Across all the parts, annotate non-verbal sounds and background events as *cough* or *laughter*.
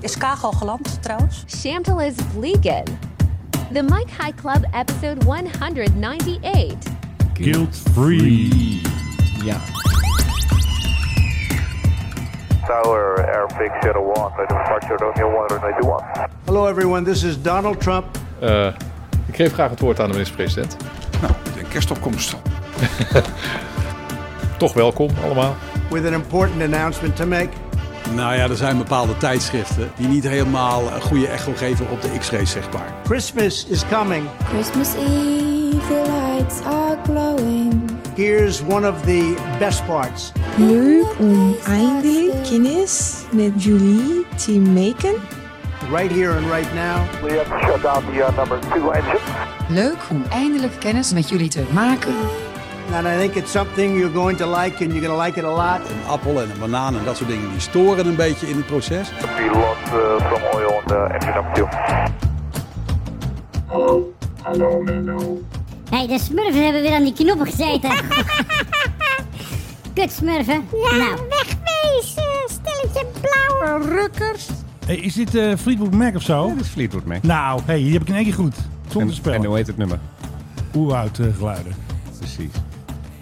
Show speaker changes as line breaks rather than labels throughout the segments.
Is Kaag al geland trouwens?
Chantal is vegan. The Mike High Club, episode 198.
Guilt Free.
Ja.
Tower Airfix 01, bij departure Romeo 191.
Hello, everyone. This is Donald Trump.
Eh, ik geef graag het woord aan de minister-president.
Nou, met een kerstopkomst.
*laughs* Toch welkom allemaal.
with an important announcement to make.
Nou ja, er zijn bepaalde tijdschriften die niet helemaal een goede echo geven op de x-rays, zeg maar.
Christmas is coming.
Christmas Eve, the lights are glowing.
Here's one of the best parts.
Leuk om eindelijk kennis met jullie te maken.
Right here and right now,
We have to shut down the uh, number 2 engine.
Leuk om eindelijk kennis met jullie te maken.
and I think it's something you're going to like, and you're going to like it a lot.
Een appel en een banaan en dat soort dingen die storen een beetje in het proces.
We lost uh, some oil on the engine number 2.
Hey, de smurfen hebben weer aan die knoppen *laughs* gezeten. Kut smurfen. nou.
Wegwezen, stelletje blauwe rukkers.
Hey, is dit eh, Fleetwood Mac of zo?
Dat is Fleetwood Mac.
Nou, hey, hier heb ik in één keer goed. Zonder
En, en
spel.
hoe heet het nummer?
Oerwoud eh, geluiden.
Precies.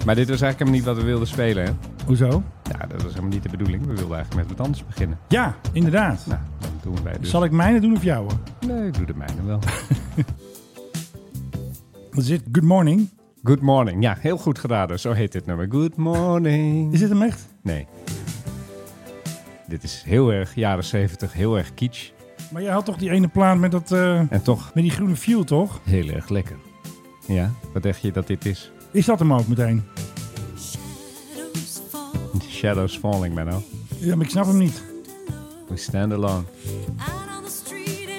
Maar dit was eigenlijk helemaal niet wat we wilden spelen, hè?
Hoezo?
Ja, dat was helemaal niet de bedoeling. We wilden eigenlijk met wat anders beginnen.
Ja, inderdaad.
Nou, dan doen wij dus.
Zal ik mijne doen of jouwe?
Nee, ik doe de mijne wel.
*laughs* Wat is dit? Good morning.
Good morning. Ja, heel goed geraden. Zo heet dit nummer. Good morning.
Is dit hem echt?
Nee. Dit is heel erg jaren 70, heel erg kitsch.
Maar jij had toch die ene plaat met, dat, eh,
En toch
met die groene fuel, toch?
heel erg lekker. Ja, wat denk je dat dit
*laughs*
is?
Is dat hem ook meteen?
Shadows Falling,
oh.
Menno.
Ja, maar ik snap hem niet.
We stand alone.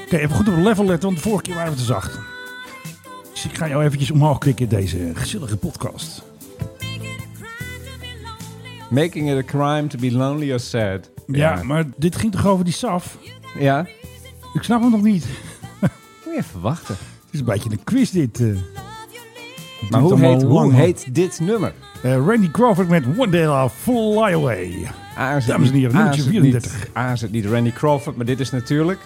Oké, even goed op het level letten, want de vorige keer waren we te zacht. Dus ik ga jou eventjes omhoog klikken in deze gezellige podcast.
Making it a crime to be lonely or sad.
Ja, maar dit ging toch over die SAF?
Ja?
Ik snap hem nog niet.
Moet je even wachten.
Het is een beetje een quiz dit. eh.
Maar
duurt
hoe
allemaal lang,
heet, hoe
hoor.
heet dit nummer?
Eh, Randy Crawford met One Day I'll Fly Away.
Dames
Dames en heren, nummertje 34.
A is het niet Randy Crawford, maar dit is natuurlijk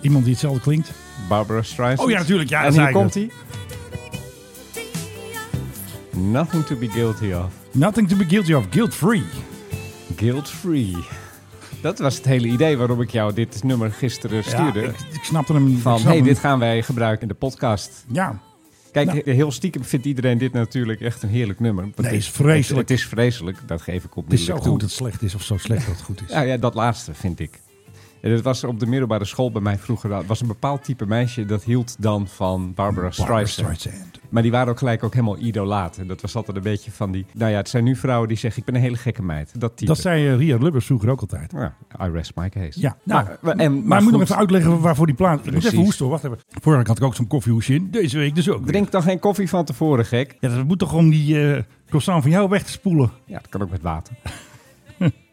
Iemand die hetzelfde klinkt.
Barbara Streisand.
Oh ja, natuurlijk. Ja,
en
dat
hier
zei ik dus.
komt hij. Nothing to be guilty of.
Nothing to be guilty of, guilt free.
Guilt free. Dat was het hele idee waarom ik jou dit nummer gisteren stuurde.
ik, ik snapte hem niet.
van,
Ik snap
hey,
hem
dit gaan wij gebruiken in de podcast.
niet. Ja,
Kijk,
Nou.
he- heel stiekem vindt iedereen dit natuurlijk echt een heerlijk nummer. Want
Nee,
het
is vreselijk.
Het, het is vreselijk, dat geef ik op
het is zo
toe.
goed dat het slecht is of zo slecht dat het goed is.
Nou ja, dat laatste vind ik. En dat was op de middelbare school bij mij vroeger. Dat was een bepaald type meisje dat hield dan van Barbara
Barbra
Streisand.
Streisand.
Maar die waren ook gelijk ook helemaal idolaat. En dat was altijd een beetje van die... Nou ja, het zijn nu vrouwen die zeggen, ik ben een hele gekke meid. Dat type.
Dat zei eh, Ria Lubbers vroeger ook altijd.
Ja, I rest my case.
Ja, nou,
Maar-
maar,
maar- en- maar
moet je nog
goed.
even uitleggen waarvoor die plaat... Ik moet
Precies.
even hoesten hoor, wacht even. Vorige week had ik ook zo'n koffiehoesje in, deze week dus ook. weer.
Drink dan geen koffie van tevoren, gek.
Ja, dat moet toch om die eh, croissant van jou weg te spoelen.
Ja, dat kan ook met
*laughs*
water.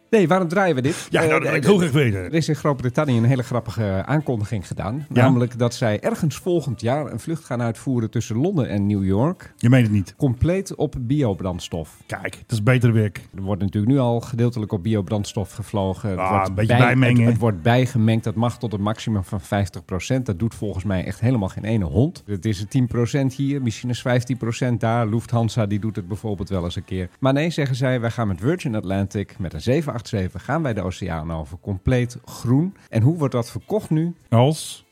nee, waarom draaien we dit?
Ja,
Eh,
nou, dat wil ik
eh,
heel graag
Er
weten.
is in Groot-Brittannië een hele grappige aankondiging gedaan. Namelijk dat zij ergens volgend jaar een vlucht gaan uitvoeren tussen Londen en New York.
Je meent het niet.
Compleet op biobrandstof.
Kijk, dat is beter werk.
Er wordt natuurlijk nu al gedeeltelijk op biobrandstof gevlogen. Het
Ah,
wordt
een beetje bijmengen,
Het,
hè?
het wordt bijgemengd. Dat mag tot een maximum van 50%. Dat doet volgens mij echt helemaal geen ene hond. Het is een 10% hier, misschien is 15% daar. Lufthansa die doet het bijvoorbeeld wel eens een keer. Maar nee, zeggen zij, wij gaan met Virgin Atlantic, met een 787, gaan wij de oceaan over. Compleet groen. En hoe wordt dat verkocht nu?
Als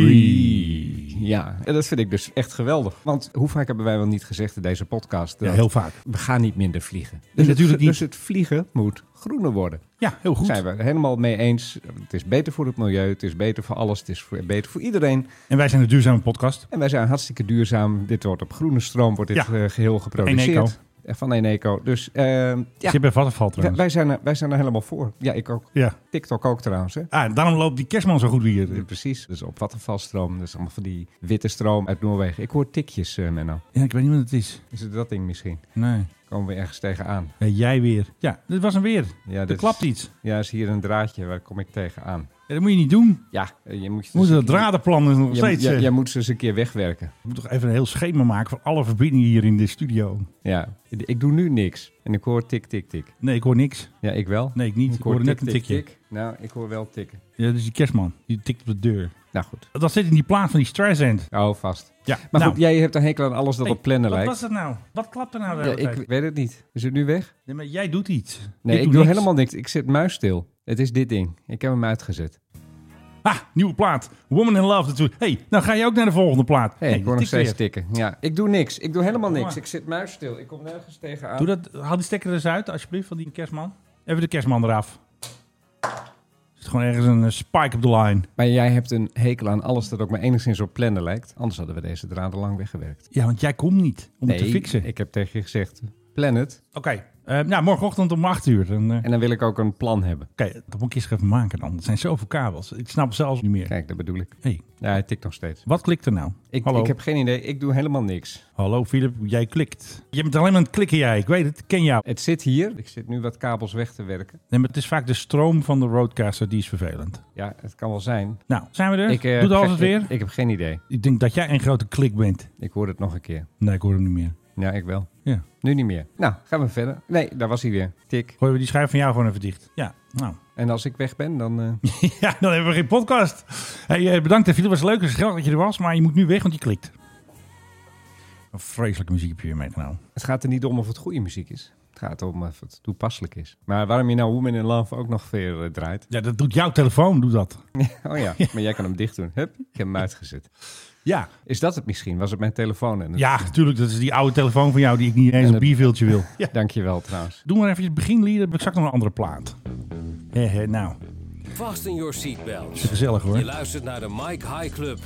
Guilt-free. Ja, en dat vind ik dus echt geweldig. Want hoe vaak hebben wij wel niet gezegd in deze podcast...
Ja,
dat-
heel vaak.
we gaan niet minder vliegen. Dus,
natuurlijk
het,
niet.
dus het vliegen moet groener worden.
Ja, heel goed.
Zijn we helemaal mee eens. Het is beter voor het milieu, het is beter voor alles, het is voor- beter voor iedereen.
En wij zijn een duurzame podcast.
En wij zijn hartstikke duurzaam. Dit wordt op groene stroom, wordt dit
Ja.
eh, geheel
Eneco.
geproduceerd. Eh, Van Eneco. Dus eh, ja,
Ik zit bij Vattenfall
wij,
trouwens.
wij zijn er, wij zijn er helemaal voor. Ja, ik ook.
Ja.
TikTok ook trouwens, hè.
Ah, daarom loopt die kerstman zo goed
Ja,
weer.
Precies, dus op Vattenfallstroom. Dat is allemaal van die witte stroom uit Noorwegen. Ik hoor tikjes, eh Menno.
Ja, ik weet niet wat het is.
Is het dat ding misschien?
Nee.
Komen we ergens tegenaan?
Ja, jij Eh, weer. Ja, dit was een weer.
Ja,
er
dit is-
klapt iets.
Ja, is hier een draadje, waar kom ik tegenaan?
Ja, dat moet je niet doen.
Ja, eh, je moet... Je
Moet dat dradenplan is nog
je,
steeds...
je-
eh,
jij moet ze eens een keer wegwerken.
Ik moet toch even een heel schema maken van alle verbindingen hier in de studio.
Ja. Ik doe nu niks. En ik hoor tik, tik, tik.
Nee, ik hoor niks.
Ja, ik wel.
Nee, ik niet. Ik hoorde net een tikje.
tik. Nou, ik hoor wel tikken.
Ja, dat is die kerstman. Die tikt op de deur.
Nou goed.
Dat zit in die plaat van die Streisand.
Oh, vast.
Ja,
Maar
nou,
goed, jij hebt een hekel aan alles dat
hey,
op plannen
Wat
lijkt.
was dat nou? Wat klapt er nou de
Ja,
hele tijd?
ik weet het niet. Is het nu weg?
Nee, maar jij doet iets.
Nee, ik, doe,
niks.
helemaal niks. Ik zit muisstil. Het is dit ding. Ik heb hem uitgezet.
Ha, Ah, nieuwe plaat. Woman in Love. natuurlijk. hey, nou ga je ook naar de volgende plaat.
Hey,
Nee,
ik hoor nog
tikt
steeds
weer.
tikken. Ja, ik doe niks. Ik doe helemaal
Kom
niks.
maar.
Ik zit muisstil. Ik kom nergens tegenaan.
Doe dat, haal die stekker er eens uit, alsjeblieft, van die kerstman. Even de kerstman eraf. Er zit gewoon ergens een eh, spike op de line.
Maar jij hebt een hekel aan alles dat ook maar enigszins op plannen lijkt. Anders hadden we deze draden lang weggewerkt.
Ja, want jij komt niet om het
nee,
te fixen.
ik heb tegen je gezegd, plan het.
Oké, eh, nou, morgenochtend om 8 uur. Dan, eh,
En dan wil ik ook een plan hebben.
Oké, dat moet ik eens even maken dan. Het zijn zoveel kabels. Ik snap het zelfs niet meer.
Kijk, dat bedoel ik.
hey,
Ja, hij tikt nog steeds.
wat klikt er nou?
Ik,
Hallo.
ik heb geen idee. Ik doe helemaal niks.
Hallo, Filip, jij klikt. Je bent alleen aan het klikken, jij. Ik weet het, ik ken jou.
Het zit hier. Ik zit nu wat kabels weg te werken.
Nee, maar het is vaak de stroom van de roadcaster, die is vervelend.
Ja, het kan wel zijn.
Nou, zijn we er?
Ik, eh,
Doet alles het
ik-
weer?
Ik, ik heb geen idee.
Ik denk dat jij een grote klik bent.
Ik hoor het nog een keer.
Nee, ik hoor hem niet meer.
Ja, ik wel.
Ja.
Nu niet meer. Nou, gaan we verder. Nee, daar was hij weer. Tik.
Gooien we die schijf van jou gewoon even dicht. Ja, nou.
En als ik weg ben, dan... eh,
*laughs* ja, dan hebben we geen podcast. Hey, eh, bedankt, hè, Filip. was leuk. Het is geweldig dat je er was, maar je moet nu weg, want je klikt. Een vreselijke muziek heb je weer meegenomen.
het gaat er niet om of het goede muziek is. Het gaat om of het toepasselijk is. Maar waarom je nou Woman in Love ook nog weer eh, draait... *laughs*
Ja, dat doet jouw telefoon, doet dat.
Oh ja, maar jij kan hem dicht doen. Hup, ik heb hem uitgezet.
Ja.
Is dat het misschien? Was het mijn telefoon? En het...
Ja, natuurlijk. Dat is die oude telefoon van jou die ik niet eens een
het-
bierveeltje wil. *laughs* Ja.
Dankjewel trouwens.
Doe maar even het beginlied. Dan heb ik straks nog een andere plaat. Hé, hé, nou,
Vast in your seatbelt.
is gezellig
Je
hoor.
luistert naar de Mike High Club.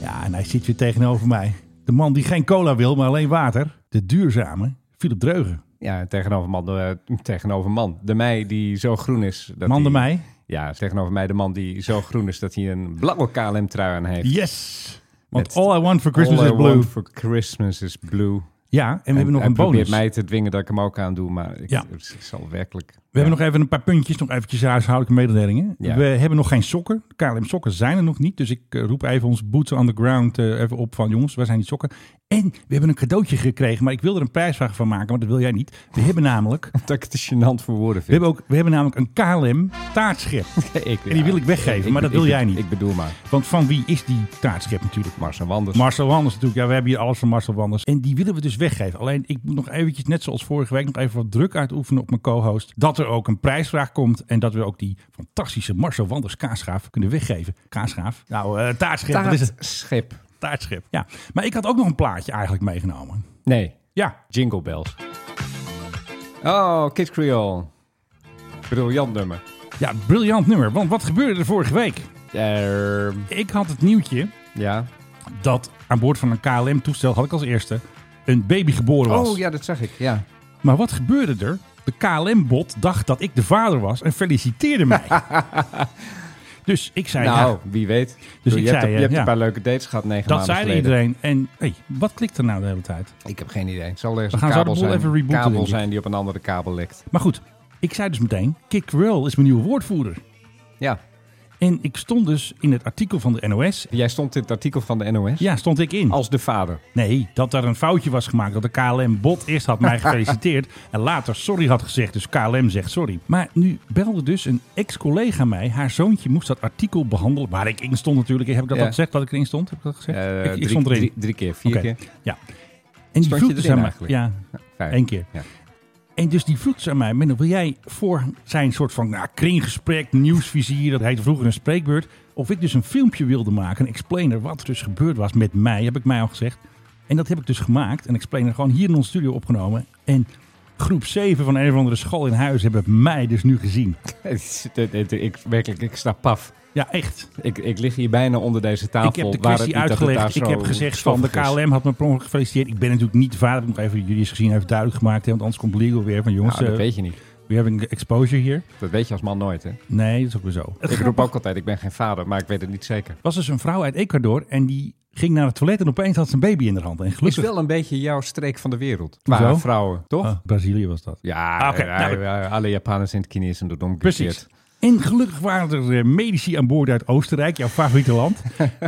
Ja, en hij zit weer tegenover mij. De man die geen cola wil, maar alleen water. De duurzame Philip Dreugen.
Ja, tegenover man, de, tegenover man. De mij die zo groen is. Dat
Man de
hij-
mij.
Ja, tegenover mij de man die zo groen is dat hij een blauwe KLM-trui aan heeft.
Yes! Want
Met
all I want for Christmas
All
is
I
blue.
want for Christmas is blue.
Ja, en we hebben nog
hij
een bonus.
probeert mij te dwingen dat ik hem ook aan doe, maar ik,
Ja.
ik zal werkelijk... *laughs*
We hebben nog even een paar puntjes, nog eventjes huishoudelijke mededelingen.
Ja.
We hebben nog geen sokken. KLM sokken zijn er nog niet. Dus ik eh, roep even ons boots on the ground eh, even op van jongens, waar zijn die sokken? En we hebben een cadeautje gekregen, maar ik wil er een prijsvraag van maken, maar dat wil jij niet. We hebben namelijk, we
Dat ik het te gênant voor woorden vind.
hebben ook, we hebben namelijk een KLM
*laughs*
taartschep.
Ik-
En die wil ik weggeven, maar dat wil jij niet.
Ik bedoel maar,
Want van wie is die taartschep natuurlijk?
Mars en Wanders.
Marcel Wanders natuurlijk. Ja, we hebben hier alles van Marcel Wanders. En die willen we dus weggeven. Alleen ik moet nog eventjes, net zoals vorige week, nog even wat druk uitoefenen op mijn co-host. Dat er ook een prijsvraag komt. En dat we ook die fantastische Marcel Wanders kaasgraaf kunnen weggeven. Kaasgraaf? Nou, eh taartschip. Wat is het?
Taartschip.
Taartschip. Ja. Maar ik had ook nog een plaatje eigenlijk meegenomen.
Nee,
Ja.
Jingle Bells. Oh, Kid Creole. Briljant nummer.
Ja, briljant nummer. Want wat gebeurde er vorige week?
Eh,
Ik had het nieuwtje
ja.
dat aan boord van een KLM-toestel, had ik als eerste, een baby geboren was.
Oh ja, dat zag ik. Ja.
Maar wat gebeurde er? De KLM-bot dacht dat ik de vader was en feliciteerde
*laughs*
mij. dus ik zei, ja,
Nou, wie weet. Dus
ik
je hebt,
zei,
een- je
eh,
hebt
ja.
een paar leuke dates gehad negen
dat
maanden
zei
geleden.
iedereen. En hey, wat klikt er nou de hele tijd?
Ik heb geen idee. Het zal ergens
We
een
gaan zo de
kabel,
boel
zijn,
even rebooten, denk
kabel
ik.
zijn die op een andere kabel lekt.
Maar goed, ik zei dus meteen, Kick Krill is mijn nieuwe woordvoerder.
Ja,
En ik stond dus in het artikel van de NOS.
jij stond in het artikel van de NOS
Ja, stond ik in.
als de vader.
Nee, dat daar een foutje was gemaakt. Dat de KLM-bot eerst had
*laughs*
mij gefeliciteerd en later sorry had gezegd. Dus KLM zegt sorry. Maar nu belde dus een ex-collega mij. Haar zoontje moest dat artikel behandelen. Waar ik in stond natuurlijk. Heb ik dat,
Ja.
al gezegd dat ik erin stond? Heb ik dat gezegd?
Eh,
ik, ik
drie,
stond erin.
Drie, drie keer, vier
Oké.
keer.
Ja. En die
je
vroeg dus
erin
aan mij.
eigenlijk?
Ja,
Vijf.
één keer.
Ja. *laughs*
En dus die vroeg dus aan mij, Menno, wil jij voor zijn soort van nou, kringgesprek, nieuwsvizier, dat heette vroeger een spreekbeurt, of ik dus een filmpje wilde maken, een explainer, wat er dus gebeurd was met mij, heb ik mij al gezegd. En dat heb ik dus gemaakt, een explainer, gewoon hier in ons studio opgenomen. En groep 7 van een of andere school in huis hebben mij dus nu gezien.
ik, werkelijk, ik sta paf.
Ja, echt.
Ik, ik lig hier bijna onder deze tafel.
Ik heb de
waar het
kwestie
niet dat het
uitgelegd. Ik
daar
heb
zo
gezegd van de
stoffig is.
KLM had me per ongeluk gefeliciteerd. Ik ben natuurlijk niet de vader. Ik moet even jullie eens gezien even duidelijk gemaakt hebben. Want anders komt legal weer van jongens.
Nou, dat
eh,
weet je niet.
We hebben exposure hier.
Dat weet je als man
*laughs*
nooit, hè?
Nee, dat is ook weer zo. Het
Ik roep ook altijd, ik ben geen vader, maar ik weet het niet zeker.
was dus een vrouw uit Ecuador en die ging naar het toilet en opeens had ze een baby in de hand. En
Is
gelukkig...
wel een beetje jouw streek van de wereld.
Hoezo?
Qua vrouwen, toch?
Ah, Brazilië was dat.
Ja,
Ah, oké.
ja,
Nou,
ja, alle Japanners in het Chinees en de dom
Precies. En gelukkig waren er eh, medici aan boord uit Oostenrijk, jouw favoriete
*laughs*
land.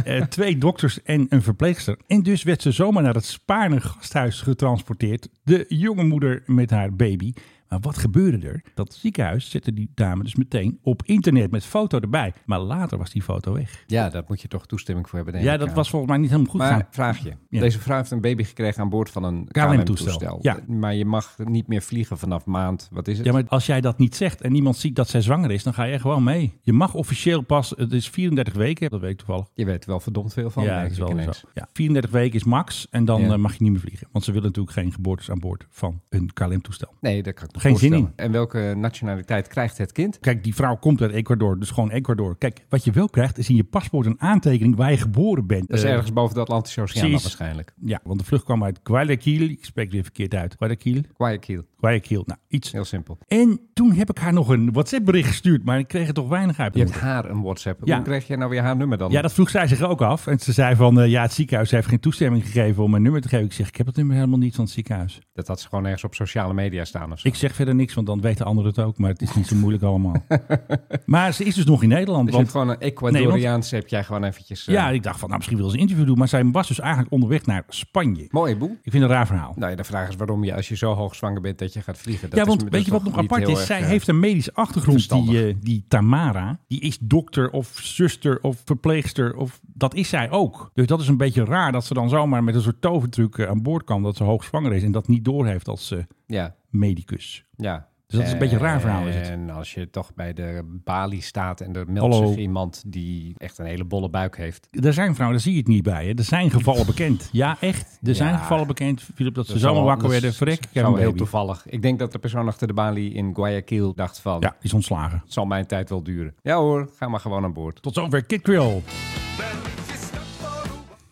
Eh, twee dokters en een verpleegster. En dus werd ze zomaar naar het Spaarne gasthuis getransporteerd. De jonge moeder met haar baby. Maar wat gebeurde er? Dat ziekenhuis zette die dame dus meteen op internet met foto erbij. Maar later was die foto weg.
Ja, daar moet je toch toestemming voor hebben. denk
Ja,
ik,
dat
aan.
was volgens mij niet helemaal goed
maar
gegaan.
vraag je.
Ja.
Deze vrouw heeft een baby gekregen aan boord van een
KLM-toestel.
KLM-toestel.
Ja.
Maar je mag niet meer vliegen vanaf maand. Wat is het?
Ja, maar als jij dat niet zegt en niemand ziet dat zij zwanger is, dan ga je er gewoon mee. Je mag officieel pas, het is 34 weken, dat weet ik toevallig.
Je weet er wel verdomd veel van.
ja,
merk
dat is
ik
wel weer
ineens.
zo. Ja, 34 weken is max en dan
Ja.
eh, mag je niet meer vliegen. Want ze willen natuurlijk geen geboortes aan boord van een KLM-toestel.
Nee, dat kan ik me
Geen zin in.
voorstellen. En welke nationaliteit krijgt het kind?
Kijk, die vrouw komt uit Ecuador, dus gewoon Ecuador. Kijk, wat je wel krijgt is in je paspoort een aantekening waar je geboren bent.
Dat is
Eh,
ergens boven de Atlantische Oceaan dan
precies.
waarschijnlijk.
Ja, want de vlucht kwam uit Guayaquil. Ik spreek weer verkeerd uit. Guayaquil?
Guayaquil.
Guayaquil, nou, iets.
Heel simpel.
En toen heb ik haar nog een WhatsApp-bericht gestuurd, maar ik kreeg er toch weinig uit.
Je hebt haar een WhatsApp.
Ja.
Hoe kreeg jij nou weer haar nummer dan?
Ja, dat vroeg zij zich ook af. En ze zei van, eh, ja, het ziekenhuis heeft geen toestemming gegeven om mijn nummer te geven. Ik zeg, ik heb het nummer helemaal niet van het ziekenhuis.
Dat had ze gewoon ergens op sociale media staan of zo.
Ik zeg verder niks, want dan weten anderen het ook. Maar het is niet zo moeilijk *laughs* allemaal. maar ze is dus nog in Nederland.
Dus je
want-
hebt gewoon een Ecuadoriaans, heb jij gewoon eventjes... eh,
Ja, ik dacht van, nou, misschien wil ze een interview doen. Maar zij was dus eigenlijk onderweg naar Spanje.
Mooi boel.
Ik vind het een raar verhaal.
Nou ja, de vraag is waarom je als je zo hoog zwanger bent dat je gaat vliegen. Dat
ja,
is
want
me- dat
weet
is
je wat
toch
nog
niet
apart
heel
is?
erg,
Zij
eh,
heeft een medische achtergrond, die,
verstandig.
eh, die Tamara. Die is dokter of zuster of verpleegster. Of, dat is zij ook. Dus dat is een beetje raar dat ze dan zomaar met een soort tovertruc eh, aan boord kan. Dat ze hoog zwanger is en dat niet doorheeft als eh,
Ja,
medicus.
ja.
Dus dat is een beetje een raar verhaal, is het?
En als je toch bij de balie staat en er meldt
Hallo.
zich iemand die echt een hele bolle buik heeft.
Er zijn vrouwen, daar zie je het niet bij. Hè. Er zijn
*laughs*
gevallen bekend. Ja, echt. Er zijn
Ja.
gevallen bekend, Philip, dat ze
zal-
zomaar wakker
dat
werden.
is-
Vrek, ik heb
zou
een
heel
baby.
toevallig. Ik denk dat de persoon achter de balie in Guayaquil dacht van,
Ja, die is ontslagen.
het zal mijn tijd wel duren. Ja hoor, ga maar gewoon aan boord.
Tot zover Kid Creole.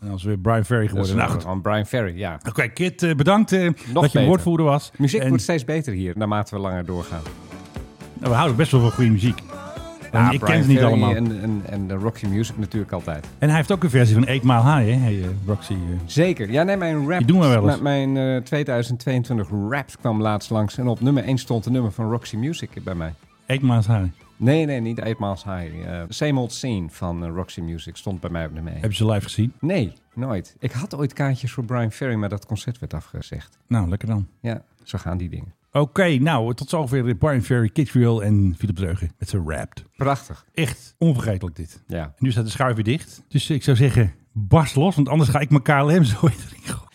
En als we weer Brian Ferry
Dat is
geworden. Nou goed.
gewoon Brian Ferry,
*laughs*
ja.
Oké, Kit, eh, bedankt eh, dat je
beter.
woordvoerder was.
Muziek
En,
wordt steeds beter hier, naarmate we langer doorgaan.
nou, we houden best wel van goede muziek. En ik ken
Brian
ze niet
Ferry
allemaal. En...
En, en, en de Rocky Music natuurlijk altijd.
hij heeft ook een versie van Eat Mile High, hè? Hey, eh, Roxy. eh.
Zeker. Ja, nee, mijn rap.
Die doen we wel eens.
Mijn eh, 2022 rap kwam laatst langs. En op nummer 1 stond een nummer van Roxy Music bij mij.
Eight Mile High.
Nee, nee, niet Eight Miles High. Eh Same Old Scene van eh, Roxy Music stond bij mij op nummer 1.
Heb je ze live gezien?
Nee, nooit. Ik had ooit kaartjes voor Brian Ferry, maar dat concert werd afgezegd.
Nou, lekker dan.
Ja, zo gaan die dingen.
Oké, nou, tot zover Brian Ferry, Kid Creole en Philip Dreugen met zijn Wrapped.
Prachtig.
Echt onvergetelijk dit.
Ja.
En nu staat de schuif weer dicht. Dus ik zou zeggen, barst los, want anders ga ik mijn KLM *laughs* zo in de ring gooien.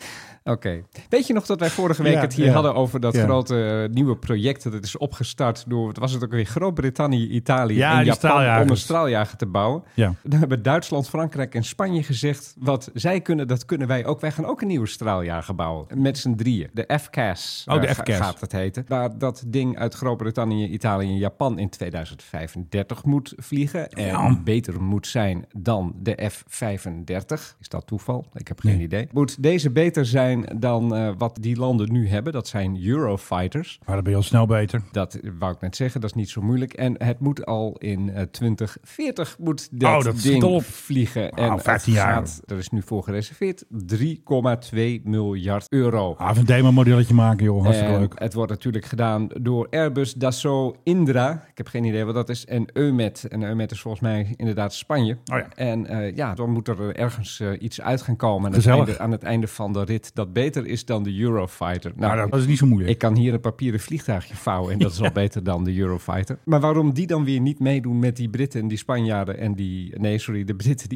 Oké. Weet je nog dat wij vorige week
Ja,
het hier
ja.
hadden over dat
Ja.
grote eh, nieuwe project dat het is opgestart door, wat was het ook weer, Groot-Brittannië, Italië
Ja,
en
die
Japan om
straaljagers.
een straaljager te bouwen?
Ja.
Dan hebben Duitsland, Frankrijk en Spanje gezegd... wat zij kunnen, dat kunnen wij ook. Wij gaan ook een nieuwe straaljager bouwen. Met z'n drieën. De FCAS
Oh, de
eh, ga-
FCAS.
gaat het heten. Waar dat ding uit Groot-Brittannië, Italië en Japan... in 2035 moet vliegen. En
Ja.
beter moet zijn dan de F-35. Is dat toeval? Ik heb geen
Nee.
idee. Moet deze beter zijn dan eh, wat die landen nu hebben? Dat zijn Eurofighters.
Maar dan ben je al snel beter.
Dat eh, wou ik net zeggen, dat is niet zo moeilijk. En het moet al in eh, 2040 moet dat,
Oh, dat schiet
ding
al op.
vliegen.
Wauw,
en het
15 jaar.
gaat- er is nu voor gereserveerd, 3,2 miljard euro.
Ah, even een demo-modelletje maken, joh. Hartstikke
En
leuk.
Het wordt natuurlijk gedaan door Airbus, Dassault, Indra. Ik heb geen idee wat dat is. En Eumet. En Eumet is volgens mij inderdaad Spanje.
Oh ja.
En eh, ja, dan moet er ergens eh, iets uit gaan komen. Aan het,
Gezellig.
einde, aan het einde van de rit dat beter is dan de Eurofighter.
Nou, dat is niet zo moeilijk.
Ik kan hier een papieren vliegtuigje vouwen en dat
*laughs*
is al beter dan de Eurofighter. Maar waarom die dan weer niet meedoen met die Britten en die Spanjaarden en die... Nee, sorry, de Britten, de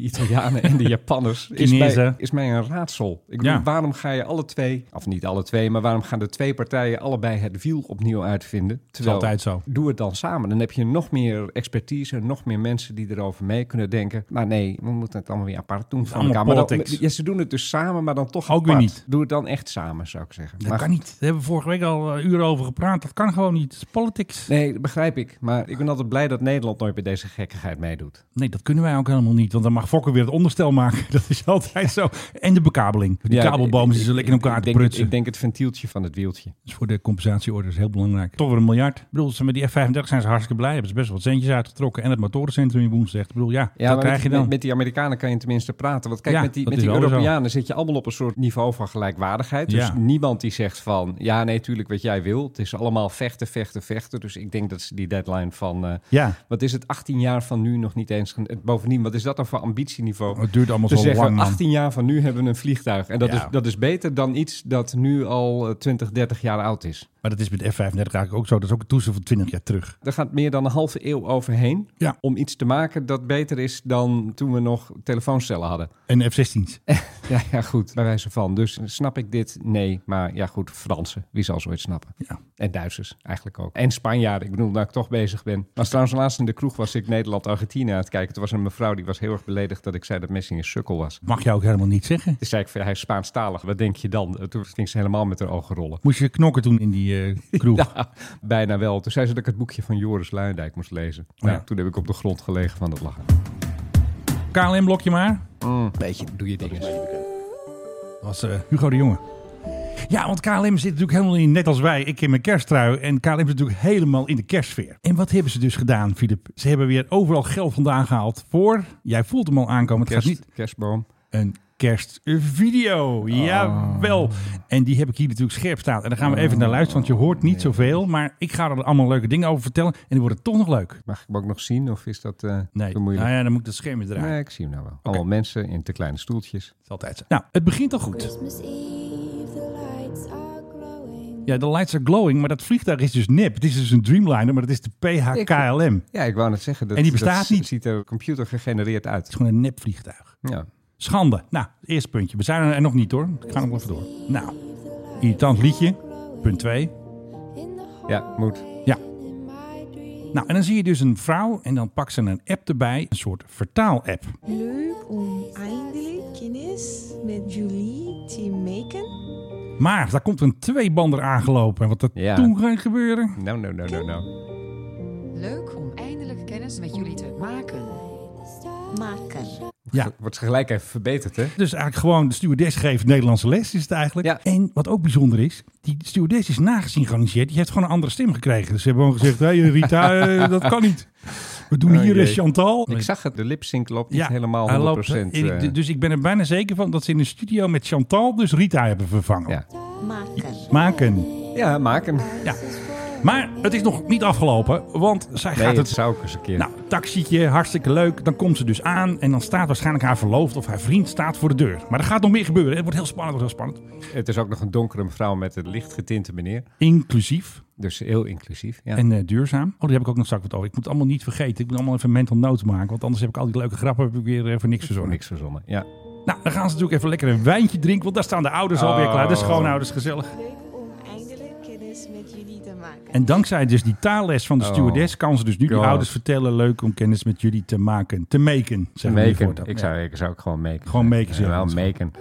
*laughs*
Italianen en de Japanners is mij,
Chinezen.
is mij een raadsel. Ik bedoel,
Ja.
waarom ga je alle twee, of niet alle twee, maar waarom gaan de twee partijen allebei het wiel opnieuw uitvinden? Terwijl,
altijd zo.
Doe het dan samen. Dan heb je nog meer expertise en nog meer mensen die erover mee kunnen denken. Maar nee, we moeten het allemaal weer apart doen van
Allemaal
elkaar. Maar dan-
politics.
ja, ze doen het dus samen, maar dan toch
Ook weer
apart.
niet.
Doe het dan echt samen, zou ik zeggen.
Dat
Maar
kan niet. Daar hebben we vorige week al eh, uren over gepraat. Dat kan gewoon niet. Het is politics. Nee.
Nee, dat begrijp ik. Maar ik ben altijd blij dat Nederland nooit bij deze gekkigheid meedoet.
dat kunnen wij ook helemaal niet. Want dan mag Fokker weer het onderstel maken. *laughs* Dat is altijd zo. En de bekabeling. Die kabelbomen
ik-
zitten
ik-
lekker in elkaar
ik
te
denk,
prutsen.
Ik denk het ventieltje van het wieltje.
Dat is voor de compensatieorde is heel belangrijk. Toch weer een miljard. Ik bedoel, ze met die F-35 zijn ze hartstikke blij. Hebben ze best wel wat centjes uitgetrokken. En het motorencentrum in Woensdag. Ik bedoel, ja,
Ja,
dat
maar
krijg
met,
je dan.
met- met die Amerikanen kan je tenminste praten. Want kijk,
Ja,
met die,
dat
met
is
die
wel zo.
Europeanen zit je allemaal op een soort niveau van gelijkwaardigheid. Dus
Ja.
niemand die zegt van, ja, nee, tuurlijk wat jij wil. Het is allemaal vechten, vechten, vechten. Dus ik denk dat ze die deadline van, eh,
Ja.
wat is het, 18 jaar van nu nog niet eens... gen- Bovendien, wat is dat dan voor ambitieniveau?
Het duurt allemaal
Te
zo
zeggen,
lang, man.
18 jaar van nu hebben we een vliegtuig. En dat,
Ja.
is, dat is beter dan iets dat nu al eh, 20, 30 jaar oud is.
Maar dat is met F35 eigenlijk ook zo. Dat is ook een toestel van 20 jaar terug.
Er gaat meer dan een halve eeuw overheen
Ja.
om iets te maken dat beter is dan toen we nog telefooncellen hadden. *laughs*
En F-16's.
Ja, ja, goed, bij wijze van. Dus snap ik dit? Nee. Maar ja, goed, Fransen, wie zal zoiets snappen?
Ja.
En Duitsers eigenlijk ook. En Spanjaarden, ik bedoel, nou ik toch bezig ben. Was trouwens laatst in de kroeg was ik Nederland-Argentinië aan het kijken. Toen was er een mevrouw die was heel erg beledigd dat ik zei dat Messi een sukkel was.
Mag je ook helemaal niet zeggen.
Toen zei ik, van, hij is Spaanstalig, wat denk je dan? Toen ging ze helemaal met haar ogen rollen.
Moest je knokken toen in die eh, kroeg.
Ja, bijna wel. Toen zei ze dat ik het boekje van Joris Luijendijk moest lezen. Nou,
Oh Ja. Hm.
toen heb ik op de grond gelegen van dat lachen.
KLM-blokje maar.
Beetje doe je dingen.
Dat was eh, Hugo de Jonge. Ja, want KLM zit natuurlijk helemaal in, net als wij, ik in mijn kersttrui. En KLM zit natuurlijk helemaal in de kerstsfeer. En wat hebben ze dus gedaan, Filip? Ze hebben weer overal geld vandaan gehaald voor, jij voelt hem al aankomen, het gaat
Kerst, Oh.
niet,
kerstboom.
een kerstvideo. Jawel. En die heb ik hier natuurlijk scherp staan. En daar gaan we even naar luisteren, want je hoort niet zoveel. Maar ik ga er allemaal leuke dingen over vertellen. En die worden toch nog leuk.
Mag ik hem ook nog zien of is dat eh
Nee,
te
nou
moeilijk?
ja, dan moet ik dat schermje draaien.
Nee, ik zie hem nou wel. Allemaal mensen in te kleine stoeltjes.
Dat is altijd zo. Nou, het begint al goed.
Christmas Eve, the lights are glowing.
Ja, de lights are glowing, maar dat vliegtuig is dus nep. Het is dus een Dreamliner, maar het is de PHKLM. Het
Ja, ik wou net zeggen. Dat,
En die bestaat
dat
niet.
ziet er computer gegenereerd uit.
is gewoon een nep vliegtuig.
Ja.
Schande. Nou, eerste puntje. We zijn er nog niet hoor. Ik ga nog wel even door. Nou, irritant liedje. Punt 2.
ja, moet.
Ja. Nou, en dan zie je dus een vrouw en dan pakt ze een app erbij. Een soort vertaal-app.
Leuk om eindelijk kennis met Julie te maken.
Maar daar komt een tweebander aangelopen. En wat er
Ja.
toen ging gebeuren.
Nou, nou, nou, nou, nou.
Leuk om eindelijk kennis met jullie te maken.
Maken.
Ja.
Wordt ze gelijk even verbeterd, hè?
Dus eigenlijk gewoon de stewardess geeft Nederlandse les, is het eigenlijk.
Ja.
En wat ook bijzonder is, die stewardess is nagesynchroniseerd. Die heeft gewoon een andere stem gekregen. Dus ze hebben gewoon gezegd, hé hey, Rita,
*laughs*
eh, dat kan niet. We doen
Oh,
hier
jee.
eh, Chantal.
Ik zag het, de lipsync loopt niet helemaal 100%.
hij loopt-
eh,
ik- dus ik ben er bijna zeker van dat ze in de studio met Chantal dus Rita hebben vervangen.
Ja.
Maken.
Maken.
ja, maak hem.
Ja. Maar het is nog niet afgelopen, want zij
Nee,
gaat
het
het
zou ik eens een keer.
Nou, taxietje, hartstikke leuk. Dan komt ze dus aan en dan staat waarschijnlijk haar verloofd of haar vriend staat voor de deur. Maar er gaat nog meer gebeuren. Het wordt heel spannend, het wordt heel spannend.
Het is ook nog een donkere mevrouw met een licht getinte meneer.
Inclusief
Dus heel inclusief. Ja.
en eh, duurzaam. Oh, die heb ik ook nog straks wat over. Ik moet het allemaal niet vergeten. Ik moet allemaal even mental notes maken, want anders heb ik al die leuke grappen heb ik weer eh, voor niks
Zo
verzonnen.
niks verzonnen. Ja.
Nou, dan gaan ze natuurlijk even lekker een wijntje drinken, want daar staan de ouders alweer
Oh.
klaar. De schoonouders, gezellig.
Leuk om eindelijk kennis met jullie te maken.
En dankzij dus die taalles van de
Oh,
stewardess kan ze dus nu
God.
die ouders vertellen... leuk om kennis met jullie te maken. Te maken, zeggen we hier
Maken.
voortaan. Ja.
Ik zou, ik zou ook gewoon maken.
Gewoon maken
Ja,
zeggen.
wel maken.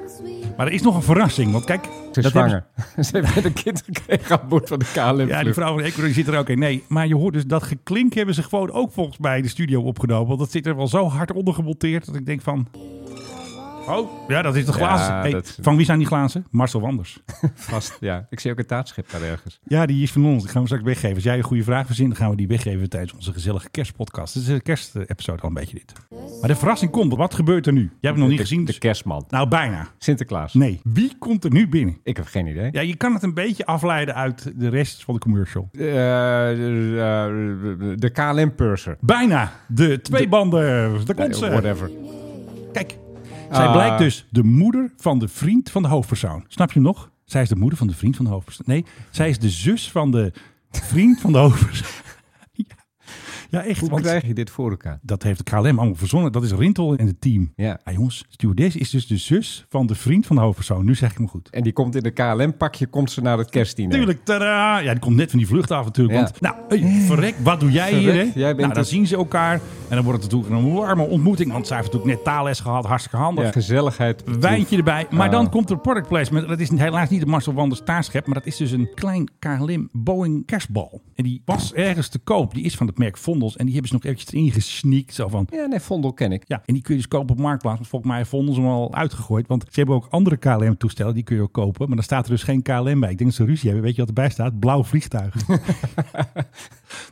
Maar er is nog een verrassing, want kijk...
Ze is
dat hebben ze-
zwanger. *laughs* Ze heeft net een kind gekregen aan boord van de KLM.
Ja, die
vlucht.
vrouw van de Ecuador zit er ook in. Nee, maar je hoort dus dat geklink hebben ze gewoon ook volgens mij in de studio opgenomen. Want dat zit er wel zo hard onder gemonteerd dat ik denk van... Oh, ja, dat is de glazen. Hey,
dat is-
Van wie zijn die glazen? Marcel Wanders.
Vast, ja. Ik zie ook een taartschip daar ergens.
Ja, die is van ons. Die gaan we straks weggeven. Als jij een goede vraag verzint, dan gaan we die weggeven tijdens onze gezellige kerstpodcast. Het is een kerstepisode al een beetje dit. Maar de verrassing komt. Wat gebeurt er nu? Jij hebt het nog niet
de,
gezien.
De
dus-
kerstman.
Nou, bijna.
Sinterklaas.
Nee. Wie komt er nu binnen?
Ik heb geen idee.
Ja, je kan het een beetje afleiden uit de rest van de commercial.
Eh, eh, de KLM-purser.
Bijna. De twee banden. Daar komt ze.
Eh, Whatever.
Kijk, zij
Ah.
blijkt dus de moeder van de vriend van de hoofdpersoon. Snap je hem nog? Zij is de moeder van de vriend van de hoofdpersoon. Nee, zij is de zus van de vriend van de hoofdpersoon. *laughs* Ja. Ja, echt.
Hoe
Want
krijg je dit voor elkaar?
dat heeft de KLM allemaal verzonnen. Dat is Rintel en het team.
Ja.
Ah, jongens, stewardess is dus de zus van de vriend van de hoofdpersoon. Nu zeg ik hem goed.
En die komt in de KLM-pakje, komt ze naar het kerstdiner.
Tuurlijk, tada! Ja, die komt net van die vlucht af natuurlijk.
Ja.
Want, nou, hey, verrek, wat doe jij hier? Hè?
Verrek, jij bent
nou, dan
het.
zien ze elkaar. En dan wordt het natuurlijk een warme ontmoeting. Want zij heeft natuurlijk net taalles gehad. Hartstikke handig.
Ja. Gezelligheid.
wijntje erbij. Maar
Ah.
dan komt er product placement. Dat is helaas niet de Marcel Wanders taarschep, maar dat is dus een klein KLM Boeing kerstbal. En die was ergens te koop. Die is van het merk Vondels en die hebben ze nog eventjes erin gesneakt. Zo van,
Ja, nee, Vondel ken ik.
ja, en die kun je dus kopen op Marktplaats. Want volgens mij heeft Vondels hem al uitgegooid. Want ze hebben ook andere KLM-toestellen, die kun je ook kopen. Maar dan
*laughs*
staat er dus geen KLM bij. Ik denk dat ze ruzie hebben. Weet je wat erbij staat? Blauw vliegtuig.